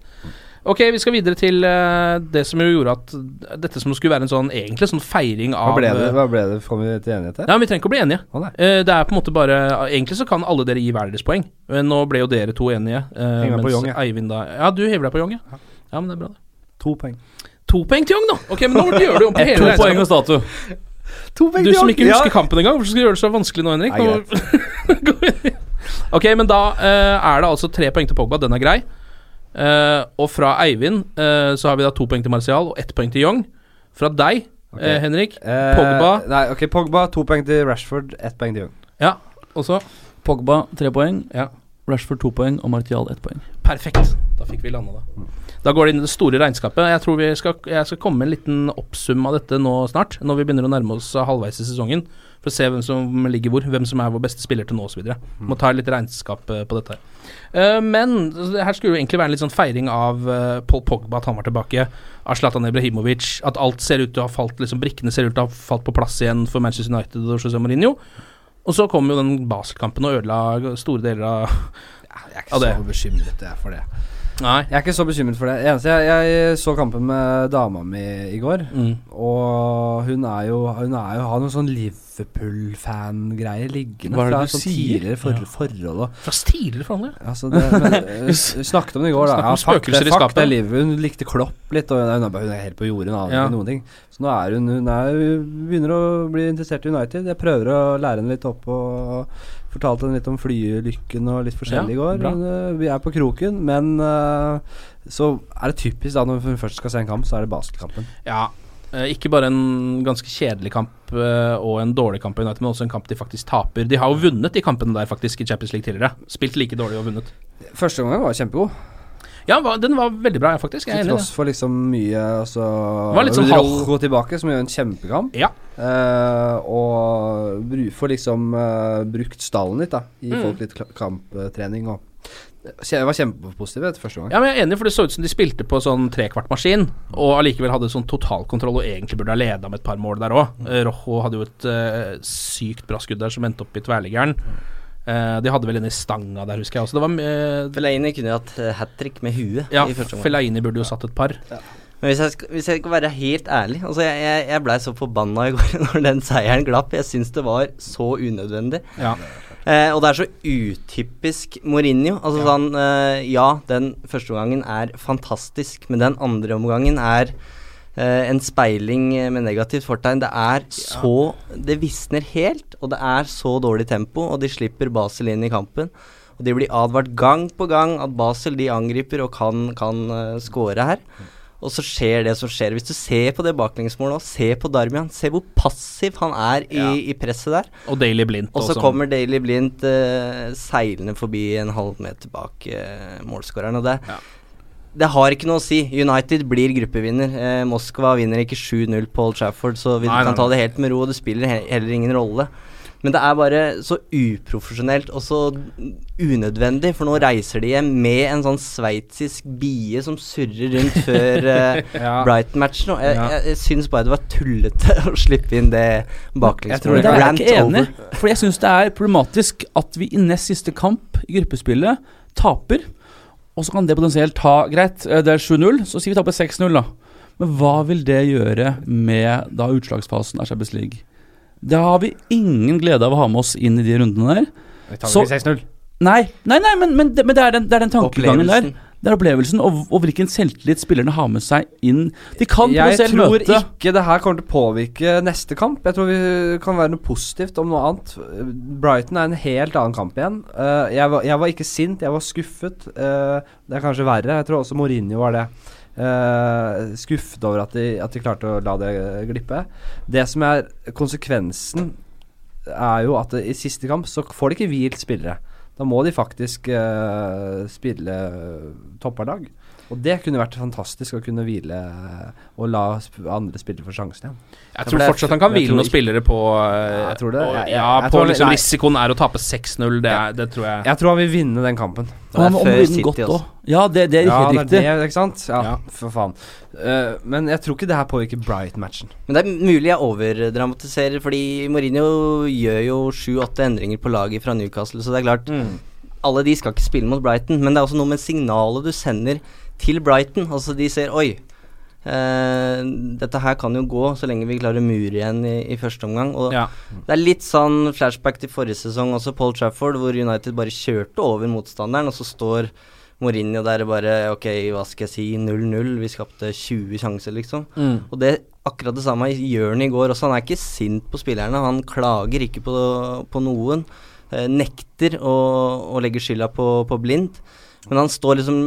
Speaker 3: Ok, vi skal videre til eh, det som jo gjorde at dette som skulle være en sånn egentlig sånn feiring av eh,
Speaker 4: Hva ble det? Hva ble det? Kom vi til enighet her?
Speaker 3: Ja, men Vi trenger ikke å bli enige.
Speaker 4: Å, nei.
Speaker 3: Eh, det er på en måte bare Egentlig så kan alle dere gi hver deres poeng. Men nå ble jo dere to enige. eh,
Speaker 4: Henger meg på
Speaker 3: mens
Speaker 4: Young, jeg.
Speaker 3: Eivind da Ja, du hever deg på Young, ja. Ja, men det er bra, det.
Speaker 4: To poeng.
Speaker 3: To poeng til Young, da! Ok, men nå gjør du om på
Speaker 5: Ett,
Speaker 3: hele
Speaker 5: to
Speaker 3: regnskapet.
Speaker 5: poeng og statue.
Speaker 4: To poeng
Speaker 3: Du
Speaker 4: til
Speaker 3: som
Speaker 4: Young.
Speaker 3: ikke
Speaker 4: ja.
Speaker 3: husker kampen engang, hvorfor skal du gjøre det så vanskelig nå, Henrik?
Speaker 4: Nei,
Speaker 3: Nå... ok, men da eh, er det altså tre poeng til Pogba, den er grei. Eh, og fra Eivind eh, så har vi da to poeng til Martial og ett poeng til Young. Fra deg, eh, Henrik,
Speaker 4: Eh,
Speaker 3: Pogba
Speaker 4: Nei, ok, Pogba, to poeng til Rashford, ett poeng til Young.
Speaker 3: Ja, og så
Speaker 5: Pogba tre poeng,
Speaker 3: Ja.
Speaker 5: Rashford to poeng og Martial ett poeng.
Speaker 3: Perfekt. Da Da fikk vi landa det. Da går det inn i det store regnskapet. Jeg tror vi skal, jeg skal komme med en liten oppsum av dette nå snart, når vi begynner å nærme oss halvveis i sesongen. For å se hvem som ligger hvor, hvem som er vår beste spiller til nå osv. Må ta litt regnskap eh, på dette. her. Eh, men det her skulle jo egentlig være en litt sånn feiring av eh, Paul Pogba, at han var tilbake. Av Zlatan Ibrahimovic. At alt ser ut til å ha falt, liksom brikkene ser ut til å ha falt på plass igjen for Manchester United og José Mourinho. Og så kom jo den Basel-kampen og ødela store deler av
Speaker 4: Jeg er
Speaker 3: av
Speaker 4: ikke
Speaker 3: det.
Speaker 4: så bekymret jeg for det.
Speaker 3: Nei.
Speaker 4: Jeg er ikke så bekymret for det. Eneste, jeg, jeg så kampen med dama mi i går,
Speaker 3: Mm.
Speaker 4: og hun er jo Hun er jo, har noen sånn Liverpool-fan-greier liggende
Speaker 5: Hva er det
Speaker 4: fra
Speaker 5: du
Speaker 4: sånn
Speaker 5: sier?
Speaker 4: tidligere for,
Speaker 5: Ja.
Speaker 4: forhold og
Speaker 3: Fra tidligere forhandlinger?
Speaker 4: Altså det, men, eh, vi snakket om det i går, da.
Speaker 3: Snakk om
Speaker 4: fuck det,
Speaker 3: spøkelser i
Speaker 4: fuck
Speaker 3: skapet.
Speaker 4: det livet. Hun likte Klopp litt, og hun er, hun er bare- hun er helt på jordet. Hun aner
Speaker 3: Ja.
Speaker 4: ikke noen ting. Så nå er hun Hun er, hun begynner å bli interessert i United. Jeg prøver å lære henne litt opp og fortalte henne litt om flyulykken og litt forskjellig i
Speaker 3: Ja,
Speaker 4: går.
Speaker 3: bra.
Speaker 4: Men, eh, vi er på kroken, men eh, så er det typisk da når hun først skal se en kamp, så er det Basel-kampen.
Speaker 3: Ja. eh, Ikke bare en ganske kjedelig kamp eh, og en dårlig kamp i United, men også en kamp de faktisk taper. De har jo vunnet de kampene der faktisk i Champions League tidligere. Spilt like dårlig og vunnet.
Speaker 4: Første omgang var kjempegod,
Speaker 3: Ja, hva- den var veldig bra, jeg, faktisk. Jeg
Speaker 4: til
Speaker 3: er enig i
Speaker 4: tross
Speaker 3: det.
Speaker 4: for liksom mye altså,
Speaker 3: Var litt sånn
Speaker 4: Rudi
Speaker 3: halv-
Speaker 4: Rojo tilbake, som gjør en kjempekamp.
Speaker 3: Ja.
Speaker 4: Eh, og bru- får liksom eh, brukt stallen litt, da. Gi
Speaker 3: Mm.
Speaker 4: folk litt kla- kamptrening og Jeg var kjempepositiv etter første gang.
Speaker 3: ja, men jeg er enig, for det så ut som de spilte på sånn trekvartmaskin, og allikevel hadde sånn totalkontroll og egentlig burde ha leda med et par mål der òg. Rojo hadde jo et eh, sykt bra skudd der som endte opp i tverrliggeren.
Speaker 4: Mm.
Speaker 3: Eh, de hadde vel en i stanga der, husker jeg også. Det var eh,
Speaker 6: Fellaini kunne jo hatt hat trick med huet
Speaker 3: Ja,
Speaker 6: i første omgang.
Speaker 3: Fellaini burde jo satt et par.
Speaker 6: Men hvis jeg, skal, hvis jeg skal være helt ærlig altså Jeg, jeg, jeg blei så forbanna i går når den seieren glapp. Jeg syns det var så unødvendig.
Speaker 3: Ja.
Speaker 6: Eh, og det er så utypisk Mourinho. Altså
Speaker 3: Ja.
Speaker 6: sånn eh, Ja, den første omgangen er fantastisk, men den andre omgangen er eh, en speiling eh, med negativt fortegn. Det er så Det visner helt, og det er så dårlig tempo, og de slipper Basel inn i kampen. Og de blir advart gang på gang at Basel de angriper og kan, kan eh, score her. Og så skjer det som skjer. Hvis du ser på det baklengsmålet nå, se på Darmian. Se hvor passiv han er i, i presset der.
Speaker 3: Og Daily Blind.
Speaker 6: Og så
Speaker 3: også.
Speaker 6: kommer Daily Blind eh, seilende forbi en halvmeter bak eh, målskåreren. Og det,
Speaker 3: Ja.
Speaker 6: det har ikke noe å si. United blir gruppevinner. Eh, Moskva vinner ikke 7-0 på Old Trafford, så vi
Speaker 3: Nei, nei,
Speaker 6: kan ta
Speaker 3: nei.
Speaker 6: det helt med ro. Og det spiller he heller ingen rolle. Men det er bare så uprofesjonelt og så unødvendig, for nå reiser de hjem med en sånn sveitsisk bie som surrer rundt før eh,
Speaker 3: Ja.
Speaker 6: Brighton-matchen. Og jeg,
Speaker 3: Ja.
Speaker 6: jeg, jeg syns bare det var tullete å slippe inn det baklengsmålet.
Speaker 4: tror
Speaker 5: Men der er
Speaker 6: Rant
Speaker 5: jeg ikke
Speaker 6: over.
Speaker 5: enig. For jeg syns det er problematisk at vi i nest siste kamp i gruppespillet taper. Og så kan det potensielt ta Greit, eh, det er 7-0, så sier vi taper 6-0, da. Men hva vil det gjøre med da utslagsfasen er Champions League? Da har vi ingen glede av å ha med oss inn i de rundene der.
Speaker 4: Vi
Speaker 5: tar vel ikke
Speaker 4: 6-0.
Speaker 5: Nei, nei, nei men, men, det, men det, er den, det er den tankegangen der.
Speaker 6: Opplevelsen.
Speaker 5: Det er opplevelsen, og, og hvilken selvtillit spillerne har med seg inn. De kan
Speaker 4: Jeg
Speaker 5: potensielt
Speaker 4: tror
Speaker 5: møte
Speaker 4: ikke det her kommer til å påvirke neste kamp. Jeg tror vi kan være noe positivt om noe annet. Brighton er en helt annen kamp igjen. Eh, jeg, var, jeg var ikke sint, jeg var skuffet. Eh, det er kanskje verre. Jeg tror også Mourinho var det. Eh, skuffet over at de, at de klarte å la det glippe. Det som er konsekvensen, er jo at i siste kamp så får de ikke hvilt spillere. Da må de faktisk eh, spille toppardag. Og det kunne vært fantastisk å kunne hvile eh, og la sp andre spille for sjansen igjen.
Speaker 3: Jeg
Speaker 6: for
Speaker 3: tror
Speaker 6: det er-
Speaker 3: fortsatt han kan
Speaker 4: jeg
Speaker 3: hvile
Speaker 4: tror
Speaker 3: noen
Speaker 4: ikke-
Speaker 3: spillere på eh,
Speaker 4: Jeg tror det.
Speaker 3: og-
Speaker 4: Jeg- jeg-
Speaker 3: Ja,
Speaker 4: jeg
Speaker 3: på
Speaker 4: tror-
Speaker 3: liksom
Speaker 4: nei.
Speaker 3: risikoen er å tape 6-0, det, er- det tror jeg
Speaker 4: Jeg tror han vil vinne den kampen.
Speaker 5: Og han må
Speaker 6: Det er før
Speaker 5: omvide den
Speaker 6: City
Speaker 5: godt
Speaker 6: også.
Speaker 5: òg. Ja, det, det er
Speaker 4: ja,
Speaker 5: helt
Speaker 4: det
Speaker 5: riktig.
Speaker 4: er det, ikke sant? Ja,
Speaker 3: Ja.
Speaker 4: for faen. Eh, men jeg tror ikke det her påvirker Bright-matchen.
Speaker 6: Men det er mulig jeg overdramatiserer, fordi Mourinho gjør jo sju-åtte endringer på laget fra Newcastle, så det er klart Alle de skal ikke spille mot Brighton, men det er også noe med signalet du sender til Brighton. Altså, de ser Oi, eh, dette her kan jo gå så lenge vi klarer å mure igjen i, i første omgang. Og
Speaker 3: ja.
Speaker 6: det er litt sånn flashback til forrige sesong også, Paul Trafford, hvor United bare kjørte over motstanderen, og så står Mourinho der og bare Ok, hva skal jeg si? 0-0. Vi skapte 20 sjanser, liksom. Og det akkurat det samme gjør han i går også. Han er ikke sint på spillerne. Han klager ikke på, på noen. Eh, nekter å, å legge skylda på, på Blind. Men han står liksom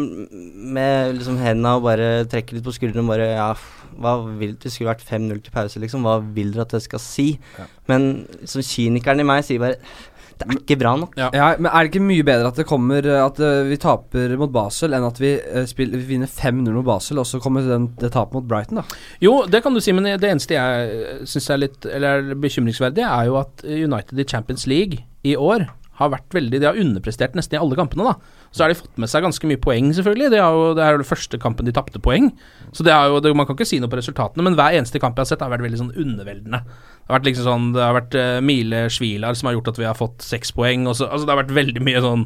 Speaker 6: med liksom hendene og bare trekker litt på skuldrene og bare Ja, f- hva vil Det skulle vært 5-0 til pause, liksom. Hva vil dere at jeg skal si? Men som kynikeren i meg sier bare Det er ikke bra nok.
Speaker 3: Ja.
Speaker 4: men er det ikke mye bedre at det kommer eh, At eh, vi taper mot Basel, enn at vi, eh, spiller, vi vinner 5-0 mot Basel, og så kommer den, det tapet mot Brighton, da?
Speaker 3: Jo, det kan du si, men det eneste jeg syns er litt Eller er bekymringsverdig, er jo at United i Champions League i år har vært veldig De har underprestert nesten i alle kampene, da. Så har de fått med seg ganske mye poeng, selvfølgelig. De har jo, det er jo den første kampen de tapte poeng. Så det er jo, det, man kan ikke si noe på resultatene, men hver eneste kamp jeg har sett, har vært veldig sånn underveldende. Det har vært liksom sånn Det har vært uh, milesviler som har gjort at vi har fått seks poeng, og så Altså, det har vært veldig mye sånn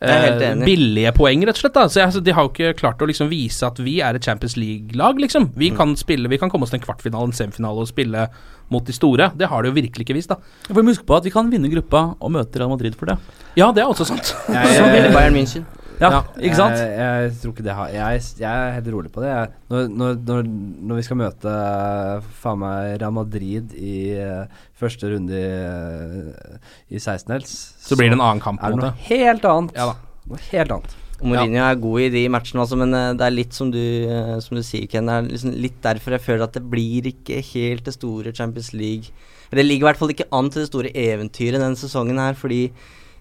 Speaker 6: Jeg er helt
Speaker 3: eh,
Speaker 6: enig.
Speaker 3: billige poeng, rett og slett. Da. Så jeg, altså, De har jo ikke klart å liksom vise at vi er et Champions League-lag, liksom.
Speaker 6: Mm.
Speaker 3: Vi kan spille, vi kan komme oss til en kvartfinale, en semifinale og spille mot de store. Det har de jo virkelig ikke vist, da.
Speaker 5: For Husk på at vi kan vinne gruppa og møte Real Madrid for det.
Speaker 3: Ja, det er også sant.
Speaker 5: Så vil Bayern München. Ja, ikke sant?
Speaker 4: Jeg, jeg tror ikke det har jeg, jeg er helt rolig på det. Jeg, når, når, når, når vi skal møte eh, faen meg Real Madrid i eh, første runde i, eh, i 16-dels
Speaker 3: Så blir det en annen kamp, på
Speaker 4: Er
Speaker 3: en
Speaker 4: det
Speaker 3: måte.
Speaker 4: noe helt annet.
Speaker 3: Ja da.
Speaker 4: Noe helt annet.
Speaker 6: Og Mourinho er god i de matchene også, men eh, det er litt som du, eh, som du sier, Ken. Det er liksom litt derfor jeg føler at det blir ikke helt det store Champions League. Eller Det ligger i hvert fall ikke an til det store eventyret denne sesongen her, fordi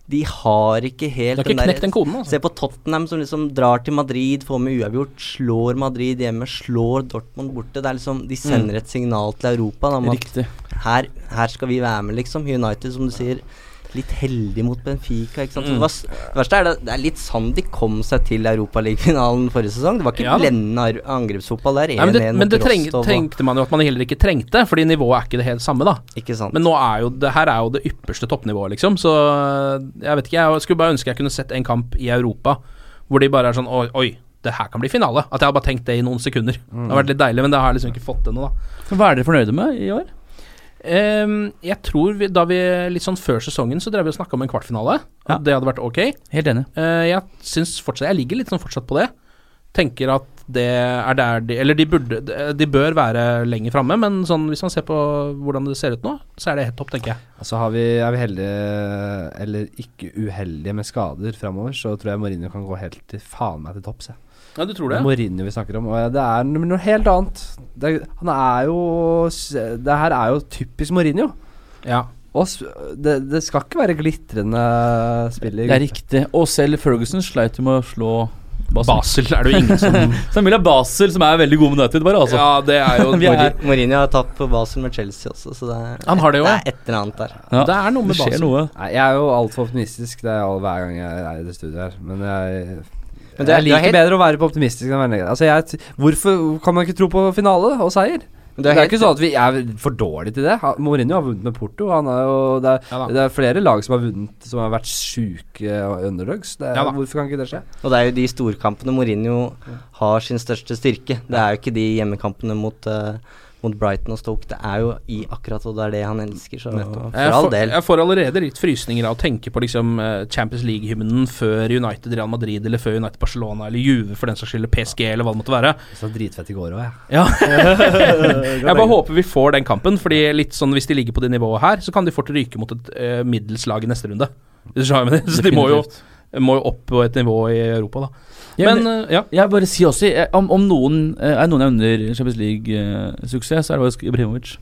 Speaker 6: de har ikke helt
Speaker 3: De har ikke knekt den koden, altså.
Speaker 6: Se på Tottenham som liksom drar til Madrid, får med uavgjort, slår Madrid hjemme, slår Dortmund borte. Det er liksom, De
Speaker 3: Mm.
Speaker 6: sender et signal til Europa da, om
Speaker 5: Riktig.
Speaker 6: at her, her skal vi være med, liksom. United, som du sier, litt heldig mot Benfica. ikke sant? Så
Speaker 3: Mm.
Speaker 6: det var s- det verste er det, det er litt sånn de kom seg til Europaligafinalen forrige sesong. Det var ikke
Speaker 3: Ja da.
Speaker 6: blendende ar- angrepsfotball der.
Speaker 3: Nei, men det,
Speaker 6: 1-1
Speaker 3: men
Speaker 6: mot
Speaker 3: det treng,
Speaker 6: Rostov og-
Speaker 3: tenkte man jo at man heller ikke trengte, fordi nivået er ikke det helt samme, da.
Speaker 6: Ikke sant.
Speaker 3: Men nå er jo det her er jo det ypperste toppnivået, liksom. Så eh, jeg vet ikke, jeg skulle bare ønske jeg kunne sett en kamp i Europa hvor de bare er sånn Oi, oi det her kan bli finale. At jeg har bare tenkt det i noen sekunder. Det har vært litt deilig, men det har jeg liksom ikke fått ennå, da.
Speaker 5: Så Hva er dere fornøyde med i år?
Speaker 3: Ehm, jeg tror vi, da vi litt sånn før sesongen så drev vi og snakka om en kvartfinale. At Det hadde vært ok.
Speaker 5: Helt enig.
Speaker 3: Eh, jeg syns fortsatt Jeg ligger litt sånn fortsatt på det. Tenker at det er der de Eller de burde De bør være lenger framme, men sånn hvis man ser på hvordan det ser ut nå, så er det helt topp, tenker jeg.
Speaker 4: Og Så har vi, er vi heldige, eller ikke uheldige, med skader framover. Så tror jeg Mourinho kan gå helt til faen meg til topps. jeg.
Speaker 3: Ja, du tror det?
Speaker 4: Mourinho vi snakker om. Og ja, det er no- noe helt annet. Det, er- han er jo s- Det her er jo typisk Mourinho.
Speaker 3: Ja.
Speaker 4: Og s- det, det skal ikke være glitrende spiller.
Speaker 5: Det er riktig. Og selv Ferguson sleit jo med å slå Basel.
Speaker 3: Basel er det jo ingen som
Speaker 5: Så Emilia Basel, som er veldig god med United, bare, altså.
Speaker 3: Ja, det er jo
Speaker 5: Vi er-
Speaker 6: Mourinho- Mourinho har tapt på Basel med Chelsea også, så det er,
Speaker 3: Han har det jo,
Speaker 6: det
Speaker 3: ja.
Speaker 6: er et eller annet der.
Speaker 5: Ja,
Speaker 3: Det er noe med
Speaker 5: det skjer
Speaker 3: Basel.
Speaker 5: noe.
Speaker 4: Nei, jeg er jo altfor optimistisk det er all, hver gang jeg er i det studioet her. Men jeg
Speaker 6: Men det er-
Speaker 4: jeg
Speaker 6: det er
Speaker 4: liker
Speaker 6: helt-
Speaker 4: bedre å være på optimistisk enn å være negativ. Altså, jeg, t- hvorfor kan man ikke tro på finale og seier?
Speaker 6: Men
Speaker 4: Det er,
Speaker 6: helt-
Speaker 4: ikke sånn at vi er for dårlige til det. Ha- Mourinho har vunnet med Porto. Han er jo, det,
Speaker 3: Ja da.
Speaker 4: er, det er flere lag som har vunnet som har vært sjuke og underdogs. Det, er-
Speaker 3: Ja da.
Speaker 4: hvorfor kan ikke det skje?
Speaker 3: sånn.
Speaker 6: Og det er jo de storkampene Mourinho har sin største styrke. Det er jo ikke de hjemmekampene mot, eh, mot Brighton og Stoke. Det er jo i akkurat, og det er det han elsker. Så
Speaker 3: Jeg
Speaker 6: for all
Speaker 3: får,
Speaker 6: del.
Speaker 3: jeg får allerede litt frysninger av å tenke på liksom eh, Champions League-hymnen før United Real Madrid, eller før United Barcelona, eller Juve for den saks skyld, eller PSG, eller hva det måtte være.
Speaker 4: Så dritfett i går òg, jeg.
Speaker 3: Ja. jeg bare håper vi får den kampen, Fordi litt sånn hvis de ligger på det nivået her, så kan de fort ryke mot et eh, middels lag i neste runde. Hvis du skjønner hva jeg mener. Så de må jo, må jo opp på et nivå i Europa, da.
Speaker 5: Ja,
Speaker 3: Men eh, ja.
Speaker 5: Jeg bare sier også, jeg, om, om noen eh, er noen jeg unner Champions League-suksess, så er det jo Ibrahimovic.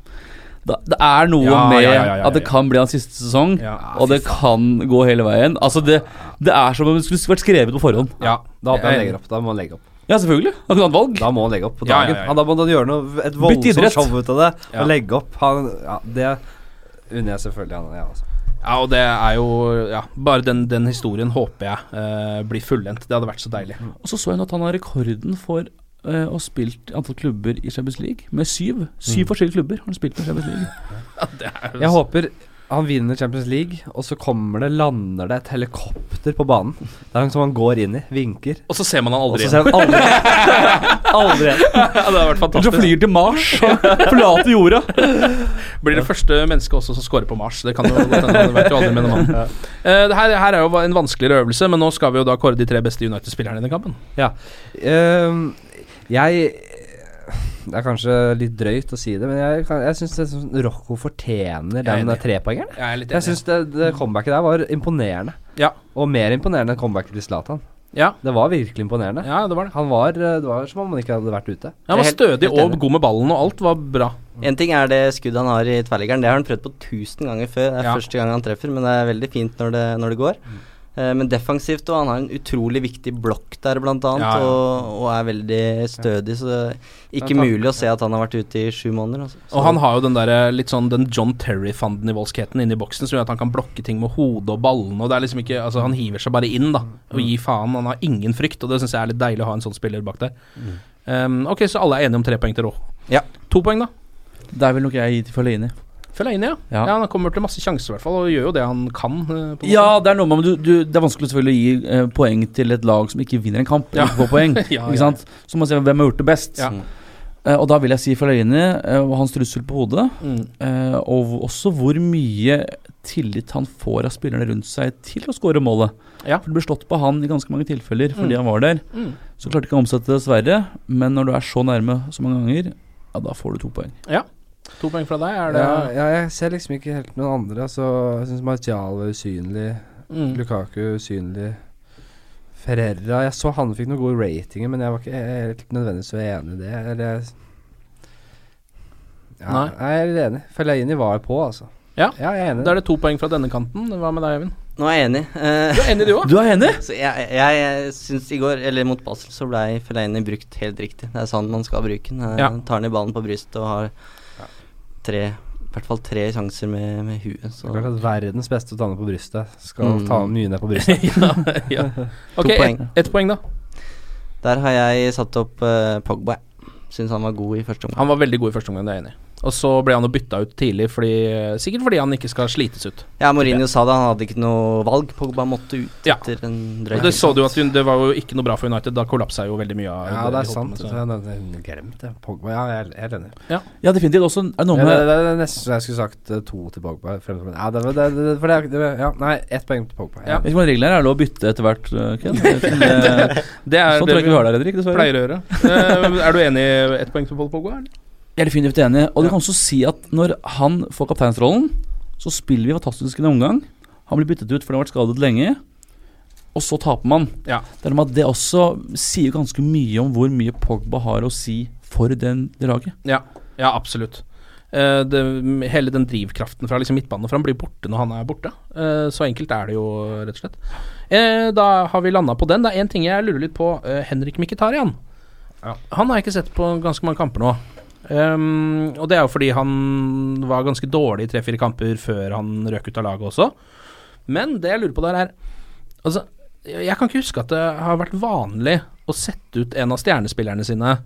Speaker 5: Da, det er noe
Speaker 3: Ja,
Speaker 5: med
Speaker 3: ja, ja, ja, ja,
Speaker 5: at det
Speaker 3: ja.
Speaker 5: kan bli hans siste sesong,
Speaker 3: Ja,
Speaker 5: og det kan gå hele veien. Altså, det, det er som om det skulle vært skrevet på forhånd.
Speaker 3: ja.
Speaker 4: Da håper jeg han
Speaker 3: Jeg-
Speaker 4: legger opp. Da må han legge opp.
Speaker 5: Ja, selvfølgelig. Han kunne hatt valg.
Speaker 4: Da må han legge opp på
Speaker 3: Ja, ja,
Speaker 4: dagen.
Speaker 3: ja, ja.
Speaker 4: Han, da må han gjøre noe, et
Speaker 5: Bytt idrett.
Speaker 4: voldsomt show ut av det.
Speaker 3: Ja.
Speaker 4: Og legge opp. Han, ja, det unner jeg selvfølgelig han. Ja, altså.
Speaker 3: Ja, og det er jo ja, Bare den, den historien håper jeg eh, blir fullendt. Det hadde vært så deilig.
Speaker 5: Mm. Og så så hun at han har rekorden for eh, å ha spilt antall klubber i Champions League, med syv. Syv
Speaker 3: Mm.
Speaker 5: forskjellige klubber har han spilt med Champions League.
Speaker 4: Jeg håper han vinner Champions League, og så kommer det, lander det et helikopter på banen. Det er han som han går inn i. Vinker.
Speaker 3: Og så ser man han
Speaker 4: Og
Speaker 3: aldri
Speaker 4: så ser
Speaker 3: igjen.
Speaker 4: han aldri Aldri igjen.
Speaker 3: Ja, det hadde vært
Speaker 5: Så
Speaker 3: fantastisk.
Speaker 5: flyr til Mars og forlater jorda.
Speaker 3: Blir det første mennesket også som scorer på Mars. Det kan jo godt hende. Det vet jo aldri med den mannen. Eh, det her, her er jo en vanskeligere øvelse, men nå skal vi jo da kåre de tre beste United-spillerne i den kampen.
Speaker 4: Ja. Ehm, jeg Det er kanskje litt drøyt å si det, men jeg, kan- jeg syns Rocco fortjener
Speaker 3: Jeg er
Speaker 4: den
Speaker 3: enig.
Speaker 4: trepoengeren.
Speaker 3: Jeg er litt
Speaker 4: Jeg syns det, det comebacket der var imponerende.
Speaker 3: Ja.
Speaker 4: Og mer imponerende enn comebacket til Zlatan. Det var virkelig imponerende. Han var, eh, det var som om han ikke hadde vært ute.
Speaker 6: Jeg er helt- helt enig.
Speaker 3: god med ballen, og alt var bra.
Speaker 6: En ting er det skuddet han har i tverrliggeren. Det har han prøvd på tusen ganger før. Det er
Speaker 3: Ja. Mm.
Speaker 6: første gang han treffer, men det er veldig fint når det, når det går. Eh, Men defensivt òg. Han har en utrolig viktig blokk der, blant annet,
Speaker 3: Ja, ja.
Speaker 6: Og, og er veldig stødig. Så det er ikke
Speaker 3: Ja, takk.
Speaker 6: mulig å se at han har vært ute i sju måneder. Altså. Så-
Speaker 3: Og han har jo den der, litt sånn den John Terry-fanden-nivåskheten inni boksen som gjør at han kan blokke ting med hodet og ballene. Og det er liksom ikke, altså Han hiver seg bare inn da og gir faen. Han har ingen frykt, og det syns jeg er litt deilig å ha en sånn spiller bak der.
Speaker 5: Mm.
Speaker 3: Um, ok, Så alle er enige om tre poeng til Rå.
Speaker 6: Ja.
Speaker 3: To poeng, da.
Speaker 5: Der vil nok jeg gi til Fellaini.
Speaker 3: Fellaini, ja. ja.
Speaker 5: Ja.
Speaker 3: Han kommer til masse sjanser, i hvert fall, og gjør jo det han kan. eh, på en måte.
Speaker 5: Ja, det er noe med du, du, Det er vanskelig selvfølgelig å gi eh, poeng til et lag som ikke vinner en kamp.
Speaker 3: Ja.
Speaker 5: Eller ikke får poeng
Speaker 3: Ja, ja.
Speaker 5: ikke sant? Så må man se hvem har gjort det best.
Speaker 3: Ja.
Speaker 5: Eh, og da vil jeg si Fellaini eh, og hans trussel på hodet.
Speaker 3: Mm.
Speaker 5: eh, og hvor- også hvor mye tillit han får av spillerne rundt seg til å skåre målet.
Speaker 3: Ja.
Speaker 5: For Det ble slått på han i ganske mange tilfeller fordi
Speaker 3: Mm.
Speaker 5: han var der.
Speaker 3: Mm.
Speaker 5: Så klarte ikke han å omsette det, dessverre. Men når du er så nærme så mange ganger, ja, da får du to poeng.
Speaker 3: ja. To poeng fra deg. Er det
Speaker 4: Ja, ja, jeg ser liksom ikke helt noen andre. Så jeg syns Martial var usynlig.
Speaker 3: Mm.
Speaker 4: Lukaku usynlig. Ferreira Jeg så han fikk noen gode ratinger, men jeg var ikke helt nødvendigvis så enig i det. Eller jeg ja,
Speaker 3: Nei.
Speaker 4: nei, jeg er litt enig. Fellaini var på, altså.
Speaker 3: Ja.
Speaker 4: jeg er enig.
Speaker 3: Da er det to poeng fra denne kanten. Hva med deg, Øyvind?
Speaker 6: Nå er jeg enig. Eh,
Speaker 3: Du er enig, du òg?
Speaker 5: Du er enig?
Speaker 6: Så jeg, jeg, jeg syns i går, eller mot Basel, så blei Fellaini brukt helt riktig. Det er sånn man skal bruke den. Eh,
Speaker 3: Ja.
Speaker 6: Tar ned ballen på brystet og har tre i hvert fall tre sjanser med, med huet.
Speaker 4: Det
Speaker 6: Så.
Speaker 4: er klart at Verdens beste å ta ned på brystet skal
Speaker 6: Mm.
Speaker 4: ta mye ned på brystet.
Speaker 3: ja, ja.
Speaker 6: To
Speaker 3: Ok,
Speaker 6: poeng.
Speaker 3: Ett et poeng, da.
Speaker 6: Der har jeg satt opp eh, Pogba. Syns han var god i første omgang.
Speaker 3: Han var veldig god i første omgang, det er jeg enig i. Og så ble han jo bytta ut tidlig, fordi, sikkert fordi han ikke skal slites ut.
Speaker 6: Ja, Mourinho sa det, han hadde ikke noe valg. Pogba måtte ut
Speaker 3: Ja.
Speaker 6: etter en drøy
Speaker 3: Og det så du at hun, det var jo ikke noe bra for United, da kollapsa jo veldig mye av
Speaker 4: Ja, det er sant.
Speaker 3: Så-
Speaker 4: Jeg nevnte- Glemt det. Pogba. Ja, jeg er helt enig.
Speaker 5: Ja, definitivt. Også er det noe
Speaker 4: Ja,
Speaker 5: med
Speaker 4: det, det, det er nesten så jeg skulle sagt eh, to til Pogba. fremfor- Ja, det, det, det, for det, er- det, ja, nei, ett poeng til Pogba.
Speaker 3: Ja.
Speaker 5: Vet ikke om reglene er, er det lov å bytte etter hvert, eh, Ken? Jeg vet ikke om det-
Speaker 3: Det er
Speaker 5: Sånn tror jeg
Speaker 3: det
Speaker 5: ikke vi har der, Henrik, dessverre.
Speaker 3: pleier å gjøre. Eh, er du enig i ett poeng til Paul Pogba? eller?
Speaker 5: Jeg er definitivt enig. Og du kan også si at når han får kapteinsrollen, så spiller vi fantastisk en omgang. Han blir byttet ut fordi han har vært skadet lenge. Og så taper man.
Speaker 3: Ja.
Speaker 5: Det, er noe med at det også sier ganske mye om hvor mye Pogba har å si for den, det laget.
Speaker 3: Ja, ja absolutt. Eh, det, hele den drivkraften fra liksom midtbanen og fram blir borte når han er borte. Eh, så enkelt er det jo, rett og slett. Eh, da har vi landa på den. Det er én ting jeg lurer litt på. eh, Henrik Mkhitaryan. Han har jeg ikke sett på ganske mange kamper nå. Ehm, og det er jo fordi han var ganske dårlig i tre-fire kamper før han røk ut av laget også. Men det jeg lurer på der, er Altså, jeg kan ikke huske at det har vært vanlig å sette ut en av stjernespillerne sine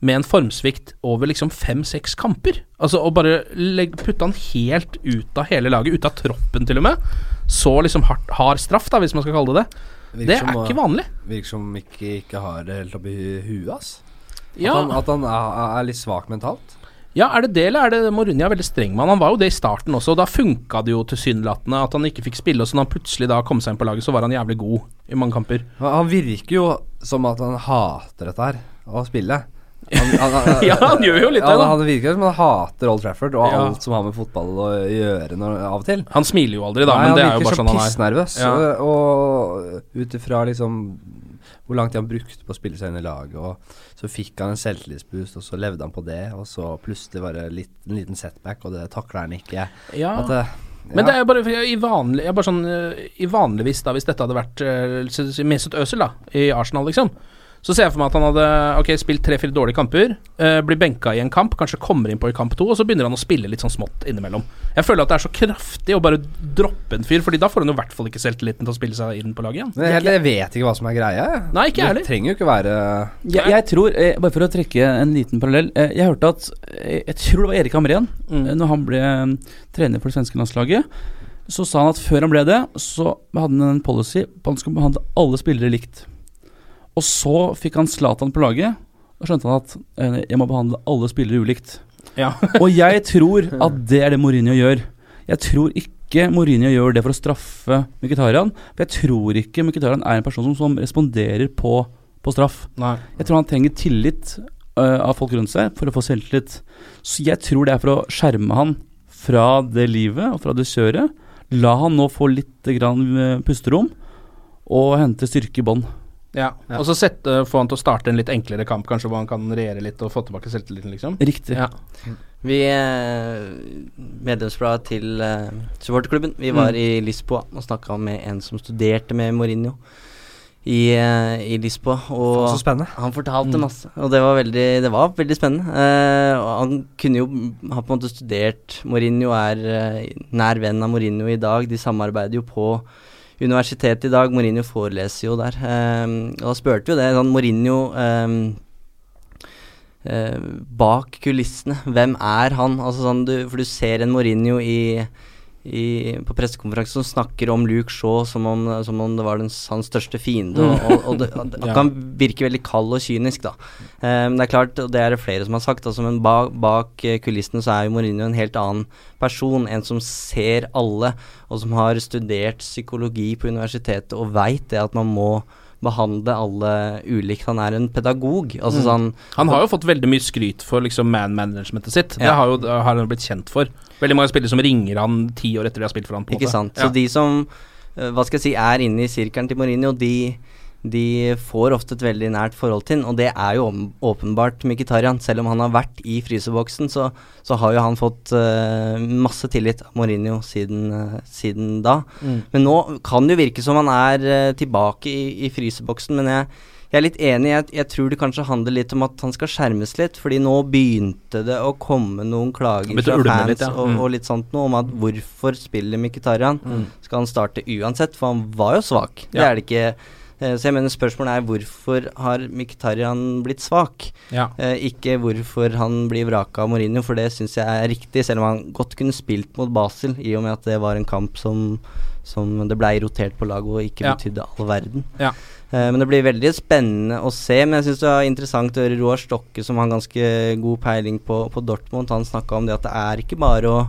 Speaker 3: med en formsvikt over liksom fem-seks kamper. Altså å bare legge, putte han helt ut av hele laget, ut av troppen til og med. Så liksom hardt, hard straff, da, hvis man skal kalle det det. Det er ikke vanlig.
Speaker 4: Virker som ikke, ikke har det helt oppi huet, ass. At
Speaker 3: Ja.
Speaker 4: han, at han er, er litt svak mentalt.
Speaker 3: ja, er det det, eller er det Mourinho er veldig streng med han? Han var jo det i starten også, og da funka det jo tilsynelatende at han ikke fikk spille, og så når han plutselig da kom seg inn på laget, så var han jævlig god i mange kamper.
Speaker 4: Han han virker jo som at han hater dette her, å spille. Han, han- han-
Speaker 3: Ja, han gjør jo litt det,
Speaker 4: han,
Speaker 3: da.
Speaker 4: han virker som han hater Old Trafford og
Speaker 3: Ja.
Speaker 4: alt som har med fotball å gjøre når, av og til.
Speaker 3: Han smiler jo aldri, da,
Speaker 4: Nei,
Speaker 3: men det er
Speaker 4: han
Speaker 3: jo bare
Speaker 4: virker
Speaker 3: sånn han er.
Speaker 4: så pissnervøs.
Speaker 3: Ja.
Speaker 4: Og, og ut ifra liksom hvor lang tid han brukte på å spille seg inn i laget, og så fikk han en selvtillitsboost, og så levde han på det, og så plutselig bare litt, en liten setback, og det takla han ikke.
Speaker 3: Ja.
Speaker 4: At det,
Speaker 3: Men
Speaker 4: ja.
Speaker 3: det er jo bare, for jeg, i vanlig, jeg er bare sånn eh, I vanligvis, da, hvis dette hadde vært eh, så- så Mesut Özil, da, i Arsenal, liksom, så ser jeg for meg at han hadde Ok, spilt tre-fire dårlige kamper, eh, blir benka i en kamp, kanskje kommer innpå i kamp to, og så begynner han å spille litt sånn smått innimellom. Jeg føler at det er så kraftig å bare droppe en fyr, Fordi da får han jo i hvert fall ikke selvtilliten til å spille seg inn på laget igjen.
Speaker 4: Men jeg, helt- jeg vet ikke hva som er greia. jeg.
Speaker 3: Nei, ikke jeg heller.
Speaker 4: Det trenger jo ikke være
Speaker 5: Jeg, jeg tror, eh, bare for å trekke en liten parallell eh, Jeg hørte at eh, Jeg tror det var Erik Hamren,
Speaker 3: Mm.
Speaker 5: eh, når han ble eh, trener for det svenske landslaget. Så sa han at før han ble det, så hadde han en policy på at han skulle behandle alle spillere likt. Og så fikk han Zlatan på laget, og skjønte han at eh, jeg må behandle alle spillere ulikt.
Speaker 3: Ja.
Speaker 5: og jeg tror at det er det Mourinho gjør. Jeg tror ikke Mourinho gjør det for å straffe Mkhitaryan. For jeg tror ikke Mkhitaryan er en person som, som responderer på, på straff.
Speaker 3: Nei.
Speaker 5: Jeg tror han trenger tillit ø, av folk rundt seg for å få selvtillit. Så jeg tror det er for å skjerme han fra det livet og fra det kjøret. eh, La han nå få litt grann ø, pusterom og hente styrke i bånn.
Speaker 3: Ja. Og så sette, få han til å starte en litt enklere kamp, kanskje, hvor han kan regjere litt og få tilbake selvtilliten, liksom.
Speaker 5: Riktig.
Speaker 3: Ja.
Speaker 6: Vi eh, medlemsbladet til eh, supporterklubben. Vi var
Speaker 3: Mm.
Speaker 6: i Lisboa og snakka med en som studerte med Mourinho i, eh, i Lisboa. Og
Speaker 4: Så spennende.
Speaker 6: Han fortalte
Speaker 4: Mm.
Speaker 6: masse, og det var veldig, det var veldig spennende. Eh, og han kunne jo ha på en måte studert Mourinho, er eh, nær venn av Mourinho i dag. De samarbeider jo på universitetet i dag. Mourinho foreleser jo der. Eh, og da spurte vi jo det. Sånn, Mourinho eh, eh, bak kulissene. Hvem er han? Altså sånn, du, for du ser en Mourinho i, i, på pressekonferanse som snakker om Luke Shaw som om, som om det var den, hans største fiende. Og, og, og det, at- at han virker veldig kald og kynisk, da. Eh, Men det er klart, og det er det flere som har sagt, altså, men bak, bak eh, kulissene så er jo Mourinho en helt annen person. En som ser alle, og som har studert psykologi på universitetet og veit det at man må behandle alle ulikt. Han er en pedagog. Altså
Speaker 3: Mm.
Speaker 6: sånn
Speaker 3: Han har jo fått veldig mye skryt for liksom man-managementet sitt. Det
Speaker 6: Ja.
Speaker 3: har, jo, det har han jo blitt kjent for. Veldig mange spillere som ringer han ti år etter de har spilt for han. På en
Speaker 6: Ikke
Speaker 3: måte.
Speaker 6: sant.
Speaker 3: Ja.
Speaker 6: Så de som eh, hva skal jeg si, er inne i sirkelen til Mourinho, de, de får ofte et veldig nært forhold til ham. Og det er jo om- åpenbart Mkhitaryan. Selv om han har vært i fryseboksen, så, så har jo han fått eh, masse tillit av Mourinho siden, eh, siden da.
Speaker 3: Mm.
Speaker 6: Men nå kan det jo virke som han er eh, tilbake i, i fryseboksen, men jeg, jeg er litt enig. Jeg, jeg tror det kanskje handler litt om at han skal skjermes litt, fordi nå begynte det å komme noen klager
Speaker 3: Begynte
Speaker 6: fra
Speaker 3: å ulme
Speaker 6: fans
Speaker 3: litt, ja.
Speaker 6: og,
Speaker 3: Mm.
Speaker 6: og litt sånt noe om at hvorfor spiller Mkhitaryan?
Speaker 3: Mm.
Speaker 6: Skal han starte uansett? For han var jo svak. Det
Speaker 3: Ja.
Speaker 6: er det ikke. Eh, Så jeg mener spørsmålet er hvorfor har Mkhitaryan blitt svak?
Speaker 3: Ja.
Speaker 6: Eh, ikke hvorfor han blir vraka av Mourinho, for det syns jeg er riktig, selv om han godt kunne spilt mot Basel, i og med at det var en kamp som, som det blei rotert på laget og ikke
Speaker 3: Ja.
Speaker 6: betydde all verden.
Speaker 3: Ja.
Speaker 6: Eh, men det blir veldig spennende å se. Men jeg syns det var interessant å høre Roar Stokke, som har ganske god peiling på, på Dortmund. Han snakka om det at det er ikke bare å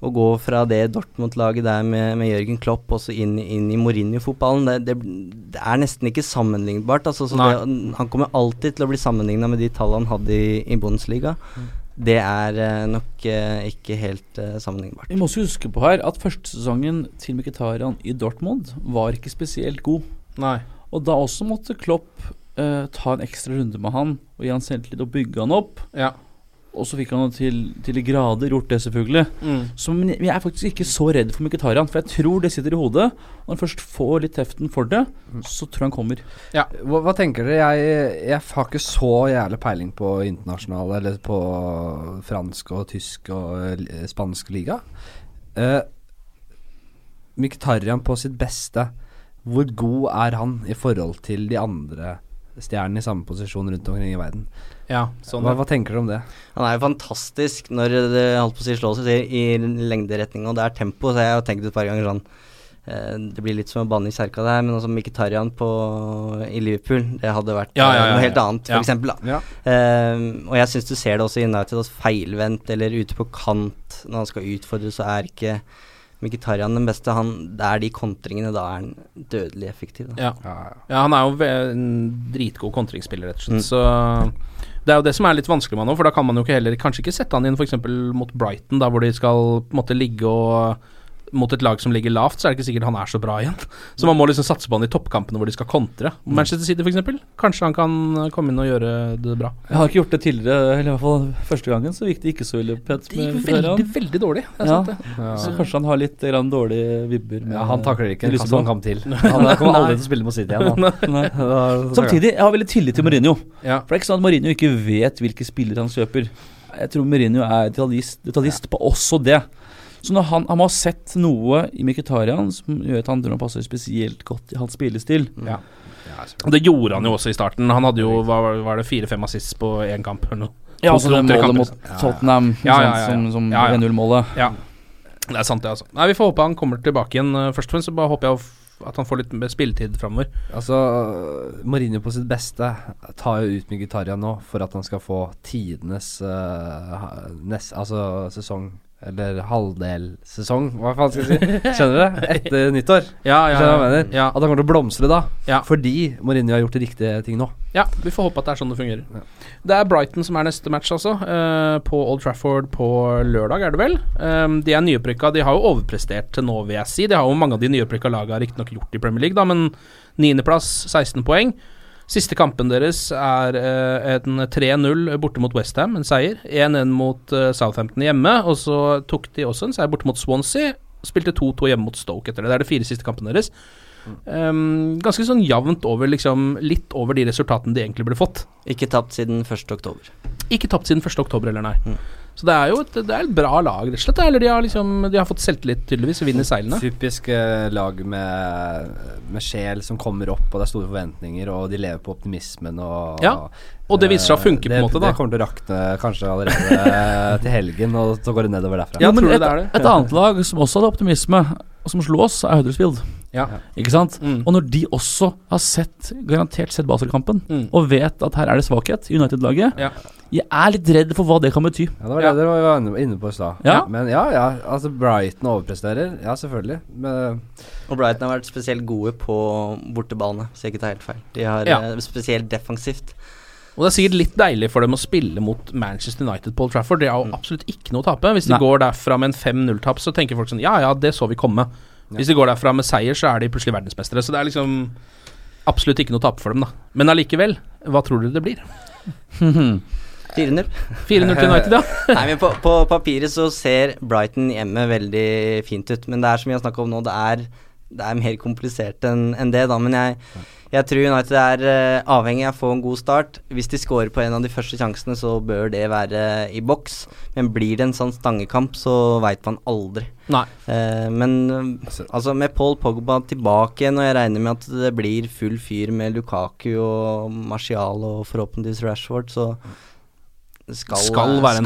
Speaker 6: å gå fra det Dortmund-laget der med, med Jørgen Klopp og så inn, inn i Mourinho-fotballen, det, det, det er nesten ikke sammenlignbart. Altså, så det, han kommer alltid til å bli sammenligna med de tallene han hadde i, i Bundesliga. Det er eh, nok eh, ikke helt eh, sammenlignbart.
Speaker 5: Vi må også huske på her at førstesesongen til Mkhitaryan i Dortmund var ikke spesielt god.
Speaker 3: Nei.
Speaker 5: Og da også måtte Klopp eh, ta en ekstra runde med han og gi han selvtillit og bygge han opp.
Speaker 3: Ja.
Speaker 5: Og så fikk han jo til, til de grader gjort det, selvfølgelig.
Speaker 3: Mm.
Speaker 5: Så, men jeg er faktisk ikke så redd for Mkhitaryan, for jeg tror det sitter i hodet. Og når han først får litt heften for det,
Speaker 3: Mm.
Speaker 5: så tror jeg han kommer.
Speaker 4: Hva, hva tenker dere? Jeg, jeg har ikke så jævlig peiling på internasjonale, eller på fransk og tysk og eh, spansk liga. Uh, Mkhitaryan på sitt beste, hvor god er han i forhold til de andre stjernene i samme posisjon rundt omkring i verden?
Speaker 3: Ja, sånn
Speaker 4: hva,
Speaker 3: ja.
Speaker 4: hva tenker dere om det?
Speaker 6: Han er jo fantastisk når det holdt på å si slås i, i lengderetning, og det er tempo. Så jeg har tenkt et par ganger sånn eh, Det blir litt som å banne i kjerka der, men også Mkhitaryan på, i Liverpool, det hadde vært
Speaker 3: Ja,
Speaker 6: eh,
Speaker 3: ja, ja,
Speaker 6: noe helt
Speaker 3: ja.
Speaker 6: annet,
Speaker 3: Ja.
Speaker 6: for eksempel. Da. Eh, og jeg syns du ser det også i United, at feilvendt eller ute på kant når han skal utfordre, så er ikke Mkhitaryan den beste. Han, det er de kontringene, da er han dødelig effektiv. Da.
Speaker 3: Ja. ja, han er jo ve- en dritgod kontringsspiller, rett og
Speaker 5: Mm.
Speaker 3: slett. Så det er jo det som er litt vanskelig med han nå, for da kan man jo ikke heller kanskje ikke sette han inn f.eks. mot Brighton, da hvor de skal på en måte ligge og mot et lag som ligger lavt, så er det ikke sikkert han er så bra igjen. Så man må liksom satse på han i toppkampene hvor de skal kontre.
Speaker 5: Mm.
Speaker 3: Manchester City f.eks. Kanskje han kan komme inn og gjøre det bra.
Speaker 5: Jeg har ikke gjort det tidligere, eller i hvert fall første gangen, så gikk det ikke så ille pent
Speaker 3: Det
Speaker 5: med
Speaker 3: gikk
Speaker 5: Mkhitaryan.
Speaker 3: veldig, veldig dårlig. Det er
Speaker 5: Ja.
Speaker 3: sant, det.
Speaker 5: Så kanskje han har litt eh, grann dårlige vibber. med-
Speaker 4: Ja, han takler ikke
Speaker 5: med
Speaker 4: en
Speaker 5: Lisboa.
Speaker 4: sånn kamp til. Han kommer aldri til å spille mot City igjen. han.
Speaker 5: Nei.
Speaker 4: Da-
Speaker 5: Samtidig, jeg har veldig tillit til Mourinho.
Speaker 3: Ja.
Speaker 5: For det er ikke sånn at Mourinho ikke vet hvilke spillere han kjøper. Jeg tror Mourinho er detaljist, detaljist på også det. Så når han, han må ha sett noe i Mkhitaryan som gjør at han tror han passer spesielt godt i hans spillestil.
Speaker 3: Ja. Og det gjorde han jo også i starten. Han hadde jo hva var- var det fire-fem assists på én kamp eller noe.
Speaker 5: Ja,
Speaker 3: To-
Speaker 5: også det
Speaker 3: to- tre
Speaker 5: målet
Speaker 3: kamper.
Speaker 5: mot Tottenham,
Speaker 3: Ja,
Speaker 5: ikke sant,
Speaker 3: ja, ja, ja.
Speaker 5: som, som
Speaker 3: Ja, ja.
Speaker 5: 1-0-målet.
Speaker 3: Ja, det er sant det, altså. Nei, Vi får håpe han kommer tilbake igjen. eh, Først og fremst så bare håper jeg f- at han får litt mer spilletid framover.
Speaker 4: Altså, Mourinho på sitt beste tar jo ut Mkhitaryan nå for at han skal få tidenes eh, ha- nest, altså, sesong eller halvdelsesong, hva faen skal jeg si? Skjønner du? Etter nyttår.
Speaker 3: Ja, ja,
Speaker 4: Skjønner du hva jeg
Speaker 3: ja.
Speaker 4: mener? At han kommer til å blomstre da. Fordi Mourinho har gjort de riktige ting nå.
Speaker 3: Ja, vi får håpe at det er sånn det fungerer. Det er Brighton som er neste match, altså. eh, på Old Trafford på lørdag, er det vel. Ehm, de er nyopprykka. De har jo overprestert til nå, vil jeg si. De har jo mange av de nyopprykka laga riktignok gjort i Premier League, da, men niendeplass, 16 poeng. Siste kampen deres er eh, en 3-0 borte mot Westham, en seier. 1-1 mot eh, Southampton hjemme, og så tok de også en seier borte mot Swansea. Spilte 2-2 hjemme mot Stoke etter det. Det er de fire siste kampene deres. Ehm, ganske sånn jevnt over, liksom litt over de resultatene de egentlig burde fått.
Speaker 6: Ikke tapt siden 1. oktober.
Speaker 3: Ikke tapt siden 1. oktober, eller nei.
Speaker 4: Mm.
Speaker 3: Så det er jo et, det er et bra lag, rett og slett. Eller de har liksom De har fått selvtillit, tydeligvis, og vinner seilene.
Speaker 4: Typisk eh, lag med, med sjel som kommer opp, og det er store forventninger, og de lever på optimismen og
Speaker 3: Ja, og det viser seg å
Speaker 4: eh,
Speaker 3: funke på en
Speaker 4: det-
Speaker 3: måte, da.
Speaker 4: Det kommer til å rakne kanskje allerede eh, til helgen, og så går det nedover derfra.
Speaker 5: Jo, men et, et annet lag som også hadde optimisme, og som slo oss, er Huddersfield.
Speaker 4: Ja.
Speaker 5: Ikke sant?
Speaker 3: Mm.
Speaker 5: Og når de også har sett, garantert sett Basel-kampen, og vet at her er det svakhet i United-laget,
Speaker 3: Mm. Ja.
Speaker 5: jeg er litt redd for hva det kan bety.
Speaker 4: Ja, det var det dere var inne- inne på i stad.
Speaker 5: Ja.
Speaker 4: Men ja, ja. Altså, Brighton overpresterer. Ja, selvfølgelig. Men
Speaker 6: Og Brighton har vært spesielt gode på bortebane, hvis jeg ikke tar helt feil. De har
Speaker 3: Ja.
Speaker 6: eh, spesielt defensivt.
Speaker 3: Og det er sikkert litt deilig for dem å spille mot Manchester United på Old Trafford. De har jo absolutt ikke noe å tape. Hvis de
Speaker 5: Nei.
Speaker 3: går derfra med en 5-0-tap, så tenker folk sånn Ja ja, det så vi komme. Hvis de går derfra med seier, så er de plutselig verdensmestere. Så det er liksom absolutt ikke noe å tape for dem, da. Men allikevel, hva tror dere det blir?
Speaker 6: 4-0.
Speaker 3: 4-0 til United, ja.
Speaker 6: Nei, men på, på papiret så ser Brighton hjemme veldig fint ut, men det er som vi har snakka om nå, det er, det er mer komplisert enn enn det, da. Men jeg, jeg tror United er eh, avhengig av å få en god start. Hvis de scorer på en av de første sjansene, så bør det være i boks. Men blir det en sånn stangekamp, så veit man aldri.
Speaker 3: Nei.
Speaker 6: Eh, men eh, altså med Paul Pogba tilbake igjen, og jeg regner med at det blir full fyr med Lukaku og Martial og forhåpentligvis Rashford, så skal, skal være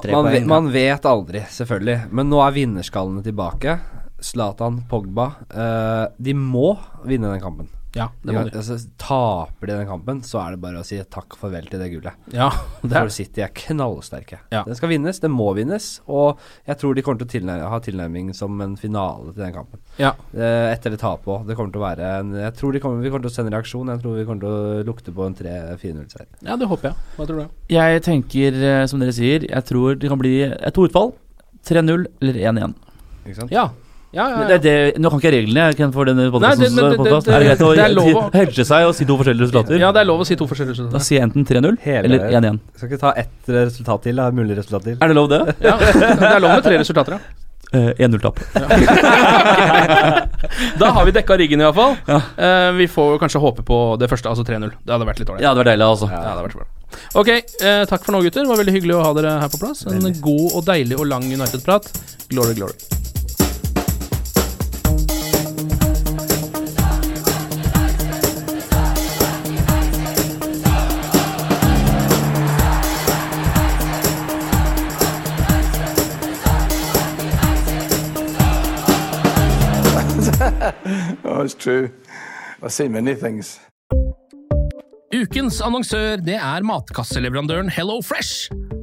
Speaker 6: tre
Speaker 4: eh, man,
Speaker 6: poeng.
Speaker 4: Vet, man vet aldri, selvfølgelig. Men nå er vinnerskallene tilbake. Zlatan, Pogba eh, De må vinne den kampen.
Speaker 3: Ja, det
Speaker 4: De
Speaker 3: må
Speaker 4: kan-
Speaker 3: de.
Speaker 4: altså, taper de den kampen, så er det bare å si takk farvel til det gullet.
Speaker 3: Ja, det er
Speaker 4: For City er knallsterke.
Speaker 3: Ja.
Speaker 4: Den skal vinnes, den må vinnes. Og jeg tror de kommer til å tilnær ha tilnærming som en finale til den kampen.
Speaker 3: Ja.
Speaker 4: Eh, etter det tapet òg. Det kommer til å være en Jeg tror de kommer, vi kommer til å sende reaksjon. Jeg tror vi kommer til å lukte på en 3-4-0-seier.
Speaker 3: ja, det håper jeg. Hva tror du?
Speaker 5: Jeg tenker, eh, som dere sier, jeg tror det kan bli et utfall. 3-0 eller 1-1.
Speaker 4: Ikke sant?
Speaker 3: Ja. Ja, ja,
Speaker 5: Det,
Speaker 3: ja.
Speaker 5: det, nå kan ikke jeg reglene, jeg kan for denne
Speaker 3: Nei, det-
Speaker 5: podkasten.
Speaker 3: men det- det-
Speaker 5: Er det greit
Speaker 3: det er lov
Speaker 5: å
Speaker 3: å-
Speaker 5: hedge seg og si to forskjellige resultater?
Speaker 3: Ja, det er lov å si to forskjellige
Speaker 5: Da
Speaker 3: resultater.
Speaker 5: sier jeg enten 3-0 eller 1-1.
Speaker 4: Skal ikke ta ett resultat til, da. Mulig resultat til.
Speaker 5: Er det lov, det?
Speaker 3: Ja, det er lov med tre resultater, ja.
Speaker 5: Eh, 1-0-tap.
Speaker 3: Da har vi dekka riggen, iallfall. Ja. Uh, vi får kanskje håpe på det første, altså 3-0. Det hadde vært litt ålreit.
Speaker 5: Ja, det var deilig, altså.
Speaker 3: Ja, det hadde vært bra. Ok, eh, takk for nå, gutter. Det var veldig hyggelig å ha dere her på plass. En god og deilig og lang United-prat. Glory, glory.
Speaker 2: Oh, it's true. I've seen many things.
Speaker 3: Ukens annonsør det er matkasseleverandøren Hello Fresh.